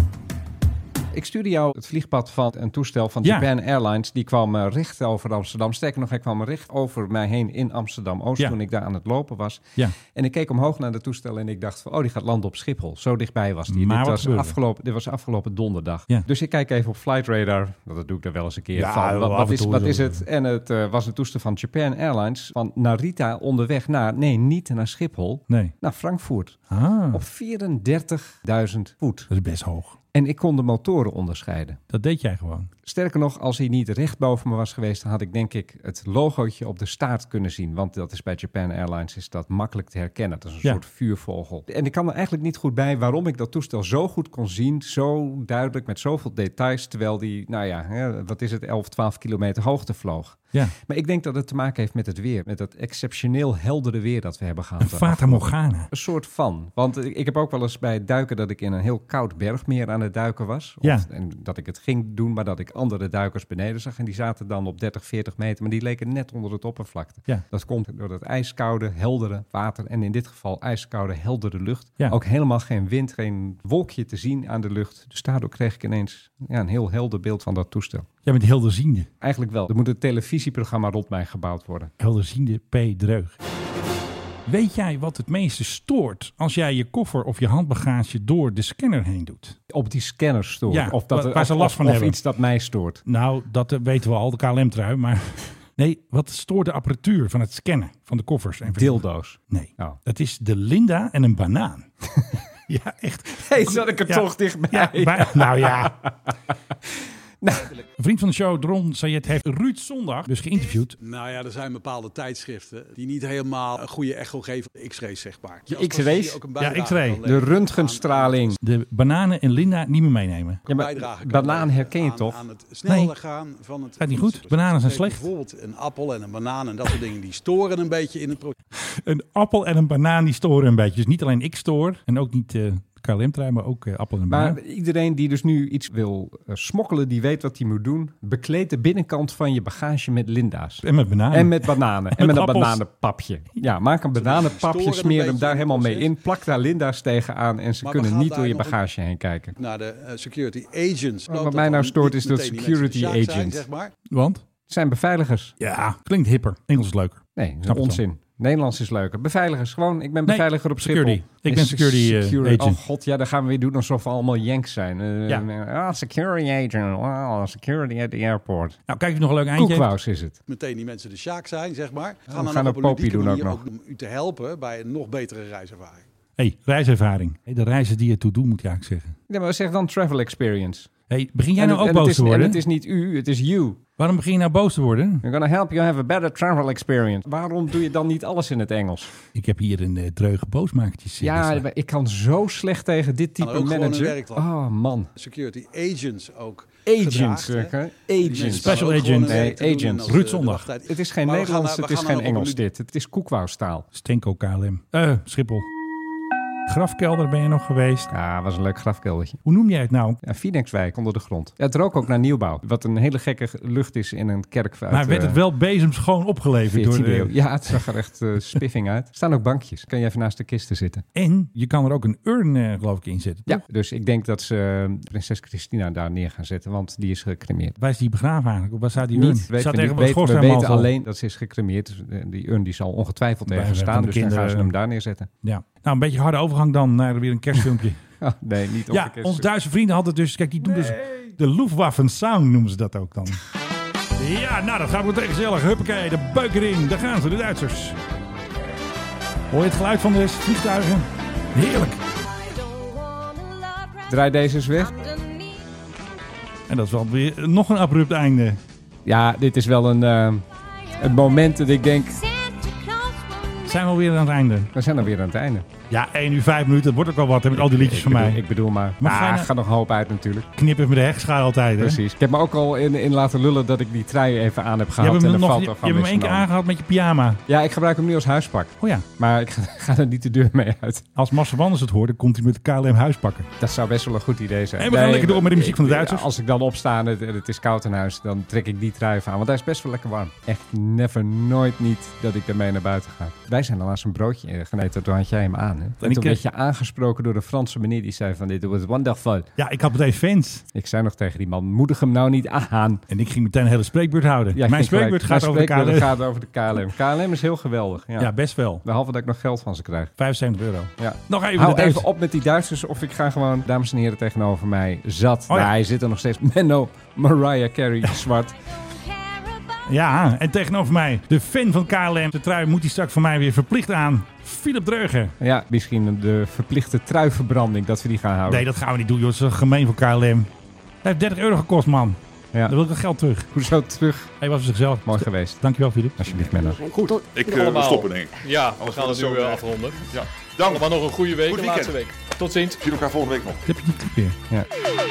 Ik stuurde jou het vliegpad van een toestel van
Ja.
Japan Airlines. Die kwam eh, recht over Amsterdam. Sterker nog, hij kwam recht over mij heen in Amsterdam-Oost
Ja.
toen ik daar aan het lopen was.
Ja.
En ik keek omhoog naar het toestel en ik dacht van, oh, die gaat landen op Schiphol. Zo dichtbij was die.
Maar
dit,
wat
was
gebeurde er?
afgelopen, dit was afgelopen donderdag.
Ja.
Dus ik kijk even op Flight Radar. Nou, Dat doe ik er wel eens een keer
Ja,
van. Wat,
af
wat,
en
is,
toe
wat
zo.
is het? En het eh, was een toestel van Japan Airlines van Narita onderweg naar, nee, niet naar Schiphol,
Nee.
naar Frankfurt.
Ah,
Op 34.000 voet.
dat is best hoog.
En ik kon de motoren onderscheiden.
Dat deed jij gewoon.
Sterker nog, als hij niet recht boven me was geweest, dan had ik denk ik het logootje op de staart kunnen zien. Want dat is bij Japan Airlines is dat makkelijk te herkennen. Dat is een
Ja.
soort vuurvogel. En ik kan er eigenlijk niet goed bij waarom ik dat toestel zo goed kon zien. Zo duidelijk, met zoveel details. Terwijl die, nou ja, hè, wat is het, 11, 12 kilometer hoogte vloog.
Ja,
Maar ik denk dat het te maken heeft met het weer. Met dat exceptioneel heldere weer dat we hebben gehad.
een
de
Fata Morgana.
een soort van. Want ik ik heb ook wel eens bij het duiken dat ik in een heel koud bergmeer aan het duiken was. Of-
Ja.
En dat ik het ging doen, maar dat ik andere duikers beneden zag. En die zaten dan op 30, 40 meter, maar die leken net onder het oppervlakte.
Ja.
Dat komt door dat ijskoude, heldere water. En in dit geval ijskoude, heldere lucht.
Ja.
Ook helemaal geen wind, geen wolkje te zien aan de lucht. Dus daardoor kreeg ik ineens ja, een heel helder beeld van dat toestel.
Jij bent helderziende.
Eigenlijk wel. Er moet een televisieprogramma rond mij gebouwd worden.
Helderziende P. Dreug. Weet jij wat het meeste stoort als jij je koffer of je handbagage door de scanner heen doet?
Op die scanner stoort.
Ja,
of dat,
waar- waar ze
of-
last van
of
hebben.
iets dat mij stoort.
Nou, dat eh, weten we al, de KLM-trui, maar... *laughs* Nee, wat stoort de apparatuur van het scannen van de koffers? En
Dildo's.
Nee,
Oh.
dat is de Linda en een banaan. ja, echt.
Hey, zat ik er
Ja.
toch dichtbij?
Ja, bij- nou ja, Een vriend van de show, Dron Sayed, heeft Ruud Zondag dus geïnterviewd.
Nou ja, er zijn bepaalde tijdschriften die niet helemaal een goede echo geven. X-rays, zeg maar.
Je X-rays?
Ja, X-ray.
De röntgenstraling.
De bananen en Linda niet meer meenemen.
Ja, maar banaan herken je toch?
Aan het sneller gaan van het... Dus
Gaat niet goed. Bananen zijn slecht.
Bijvoorbeeld een appel en een banaan en dat soort dingen. Die storen een beetje in het proces.
Een appel en een banaan die storen een beetje. Dus niet alleen ik stoor en ook niet... eh, KLM-trein, maar ook eh, appel en banaan.
Maar iedereen die dus nu iets wil eh, smokkelen, die weet wat hij moet doen. Bekleed de binnenkant van je bagage met linda's.
En met bananen.
En met bananen. en
met
met een
appels.
bananenpapje. Ja, maak een bananenpapje,
storen een
smeer hem
beetje
daar
in het
helemaal mee
proces.
in. Plak daar linda's tegen aan en ze
Maar we
kunnen
gaan
niet door
daar
je
nog een-
bagage heen kijken.
Naar de eh, security agents.
Wat mij nou stoort is dat security
agents.
agent.
zeg maar.
Want?
Het zijn beveiligers.
Ja, klinkt hipper. Engels is leuker.
Nee,
Snap het
onzin. Nederlands is leuker. Beveiligers, gewoon. Ik ben beveiliger op Schiphol.
security. Ik
Is
ben security, eh, agent.
Oh god, ja, dan gaan we weer doen alsof we allemaal Yanks zijn. Eh,
Ja.
eh, ah, security agent. Wow, security at the airport.
Nou, kijk, nog een leuk eindje.
Koekwaus is het.
Meteen die mensen de sjaak zijn, zeg maar.
we
Gaan dan
gaan
nog
een
op een
popie
ludieke
doen
manier
ook
ook om u te helpen bij een nog betere reiservaring.
hey, reiservaring. Hey, de reizen die je toe doet, moet je eigenlijk zeggen.
Ja, maar zeg dan travel experience.
hey, begin jij
En
nou
het-
ook
en het
boos
is-
te worden?
En het is niet u, het is you.
Waarom begin je nou boos te worden?
We're gonna help you have a better travel experience. Waarom doe je dan niet alles in het Engels?
Ik heb hier een eh, dreuge boosmakertje zitten.
Ja,
staan.
maar ik kan zo slecht tegen dit
Kan
type
ook gewoon een
manager.
werkdag.
Oh man.
Security agents ook.
Agents,
gedraagd, hè.
hè?
Die mensen
Agents.
staan
Special
ook gewoon
agent.
hun werk
Nee,
te doen
agents.
als, eh,
Ruud
de
Zondag.
wachttijd-
Het is geen
Maar we gaan
Nederlands,
naar-
het
we
is
gaan naar
geen
een
Engels
ludieke-
dit. Het is koekwoudstaal.
Stenko KLM. Eh, Schiphol. Grafkelder ben je nog geweest.
Ja, was een leuk grafkeldertje.
Hoe noem jij het nou?
Ja, Phoenixwijk onder de grond. Ja, het rook ook naar nieuwbouw. Wat een hele gekke ge- lucht is in een kerk. Uit,
maar werd
eh,
het wel bezemschoon opgeleverd door
14e
de...
eeuw. Ja, het zag er echt eh, spiffing uit. Er staan ook bankjes. Kan je even naast de kisten zitten.
En je kan er ook een urn, eh, geloof ik, in zetten.
Ja,
toch?
dus ik denk dat ze eh, prinses Christina daar neer gaan zetten, want die is gecremeerd.
Waar is die begraven eigenlijk? Of Waar staat die urn?
Niet, weten
staat
we, niet.
tegen
Weten- we
schoorsteenmantel.
weten alleen dat ze is gecremeerd. Dus, eh, Die urn die zal ongetwijfeld
Bij
ergens
de- van
staan,
de
dus dan
kinderen. eh.
gaan ze hem daar neerzetten. *laughs*
Ja. Nou, een beetje harde overgang dan naar weer een kerstfilmpje.
Ah, nee, niet op de
ja,
kerst.
onze Duitse vrienden hadden dus... Kijk, die doen dus de Luftwaffen Sound noemen ze dat ook dan. Ja, nou, dat gaat wel tegen gezellig. Huppakee, de beuk erin. Daar gaan ze, de Duitsers. Hoor je het geluid van de vliegtuigen? Heerlijk.
Draai deze eens weg.
En dat is wel weer nog een abrupt einde.
Ja, dit is wel een, eh, een moment dat ik denk,
Zijn we alweer aan het einde?
we zijn alweer aan het einde.
Ja, 1 uur 5 minuten. Dat wordt ook al wat hè, met al die liedjes
Ik
van
bedoel-
mij.
Ik bedoel maar.
Maar
Maar
fijne-
er gaat nog een hoop uit natuurlijk.
Knippen met de hegschaar altijd. Hè?
Precies. Ik heb me ook al in, in laten lullen dat ik die trui even aan heb
Je
gehaald.
hebt
en
hem,
de
nog, je,
foto van
hebt hem
is
één keer
genomen.
aangehaald met je pyjama.
Ja, ik gebruik hem nu als huispak.
Oh ja,
Maar ik *laughs* ga, ga er niet de deur mee uit.
als Marcel Wanders het hoort, dan komt hij met KLM huispakken.
Dat zou best wel een goed idee zijn.
En we gaan lekker door met de muziek van de
ik-
Duitsers.
Als ik dan opsta en het, en het is koud in huis, dan trek ik die trui even aan. Want hij is best wel lekker warm. Echt never, nooit niet dat ik daarmee naar buiten ga. Wij zijn al laatst een broodje eh, gaan eten. Toen had jij hem aan. Hè? En
ik
toen
kreeg-
werd je aangesproken door de Franse meneer die zei van dit was wonderful.
Ja, ik had meteen fans.
Ik zei nog tegen die man, moedig hem nou niet aan.
En ik ging meteen een hele spreekbeurt houden.
Ja, ik
Mijn
vind gelijk.
spreekbeurt gaat
Mijn
over de KLM.
spreekbeurt gaat over de KLM. KLM is heel geweldig. Ja.
ja. best wel.
Behalve dat ik nog geld van ze krijg.
75 euro.
Ja.
Nog even
Hou
de
even
Duitsers.
op met die Duitsers of ik ga gewoon, dames en heren, tegenover mij zat.
Oh ja.
Nou, hij zit er nog steeds. Menno, Mariah
*laughs*
Carey, zwart.
Ja, en tegenover mij, de fan van KLM. De trui moet hij straks voor mij weer verplicht aan. Philip Dreugen.
Ja, misschien de verplichte truiverbranding dat we die gaan houden.
Nee, dat gaan we niet doen, joh. Dat is wel gemeen voor KLM. Hij heeft 30 euro gekost, man.
Ja.
Dan wil ik dat geld terug.
Hoezo terug?
Hij was voor zichzelf.
Mooi geweest.
Dankjewel, Philip.
Alsjeblieft, Menno.
Goed,
Ik eh,
Allemaal.
we stoppen denk ik.
Ja, we gaan het
we zo
nu eh,
krijgen.
afronden.
Ja.
Allemaal nog een goede week,
Goed
een laatste week. Tot ziens.
Zien elkaar volgende week nog.
Dat heb je niet weer.
Ja.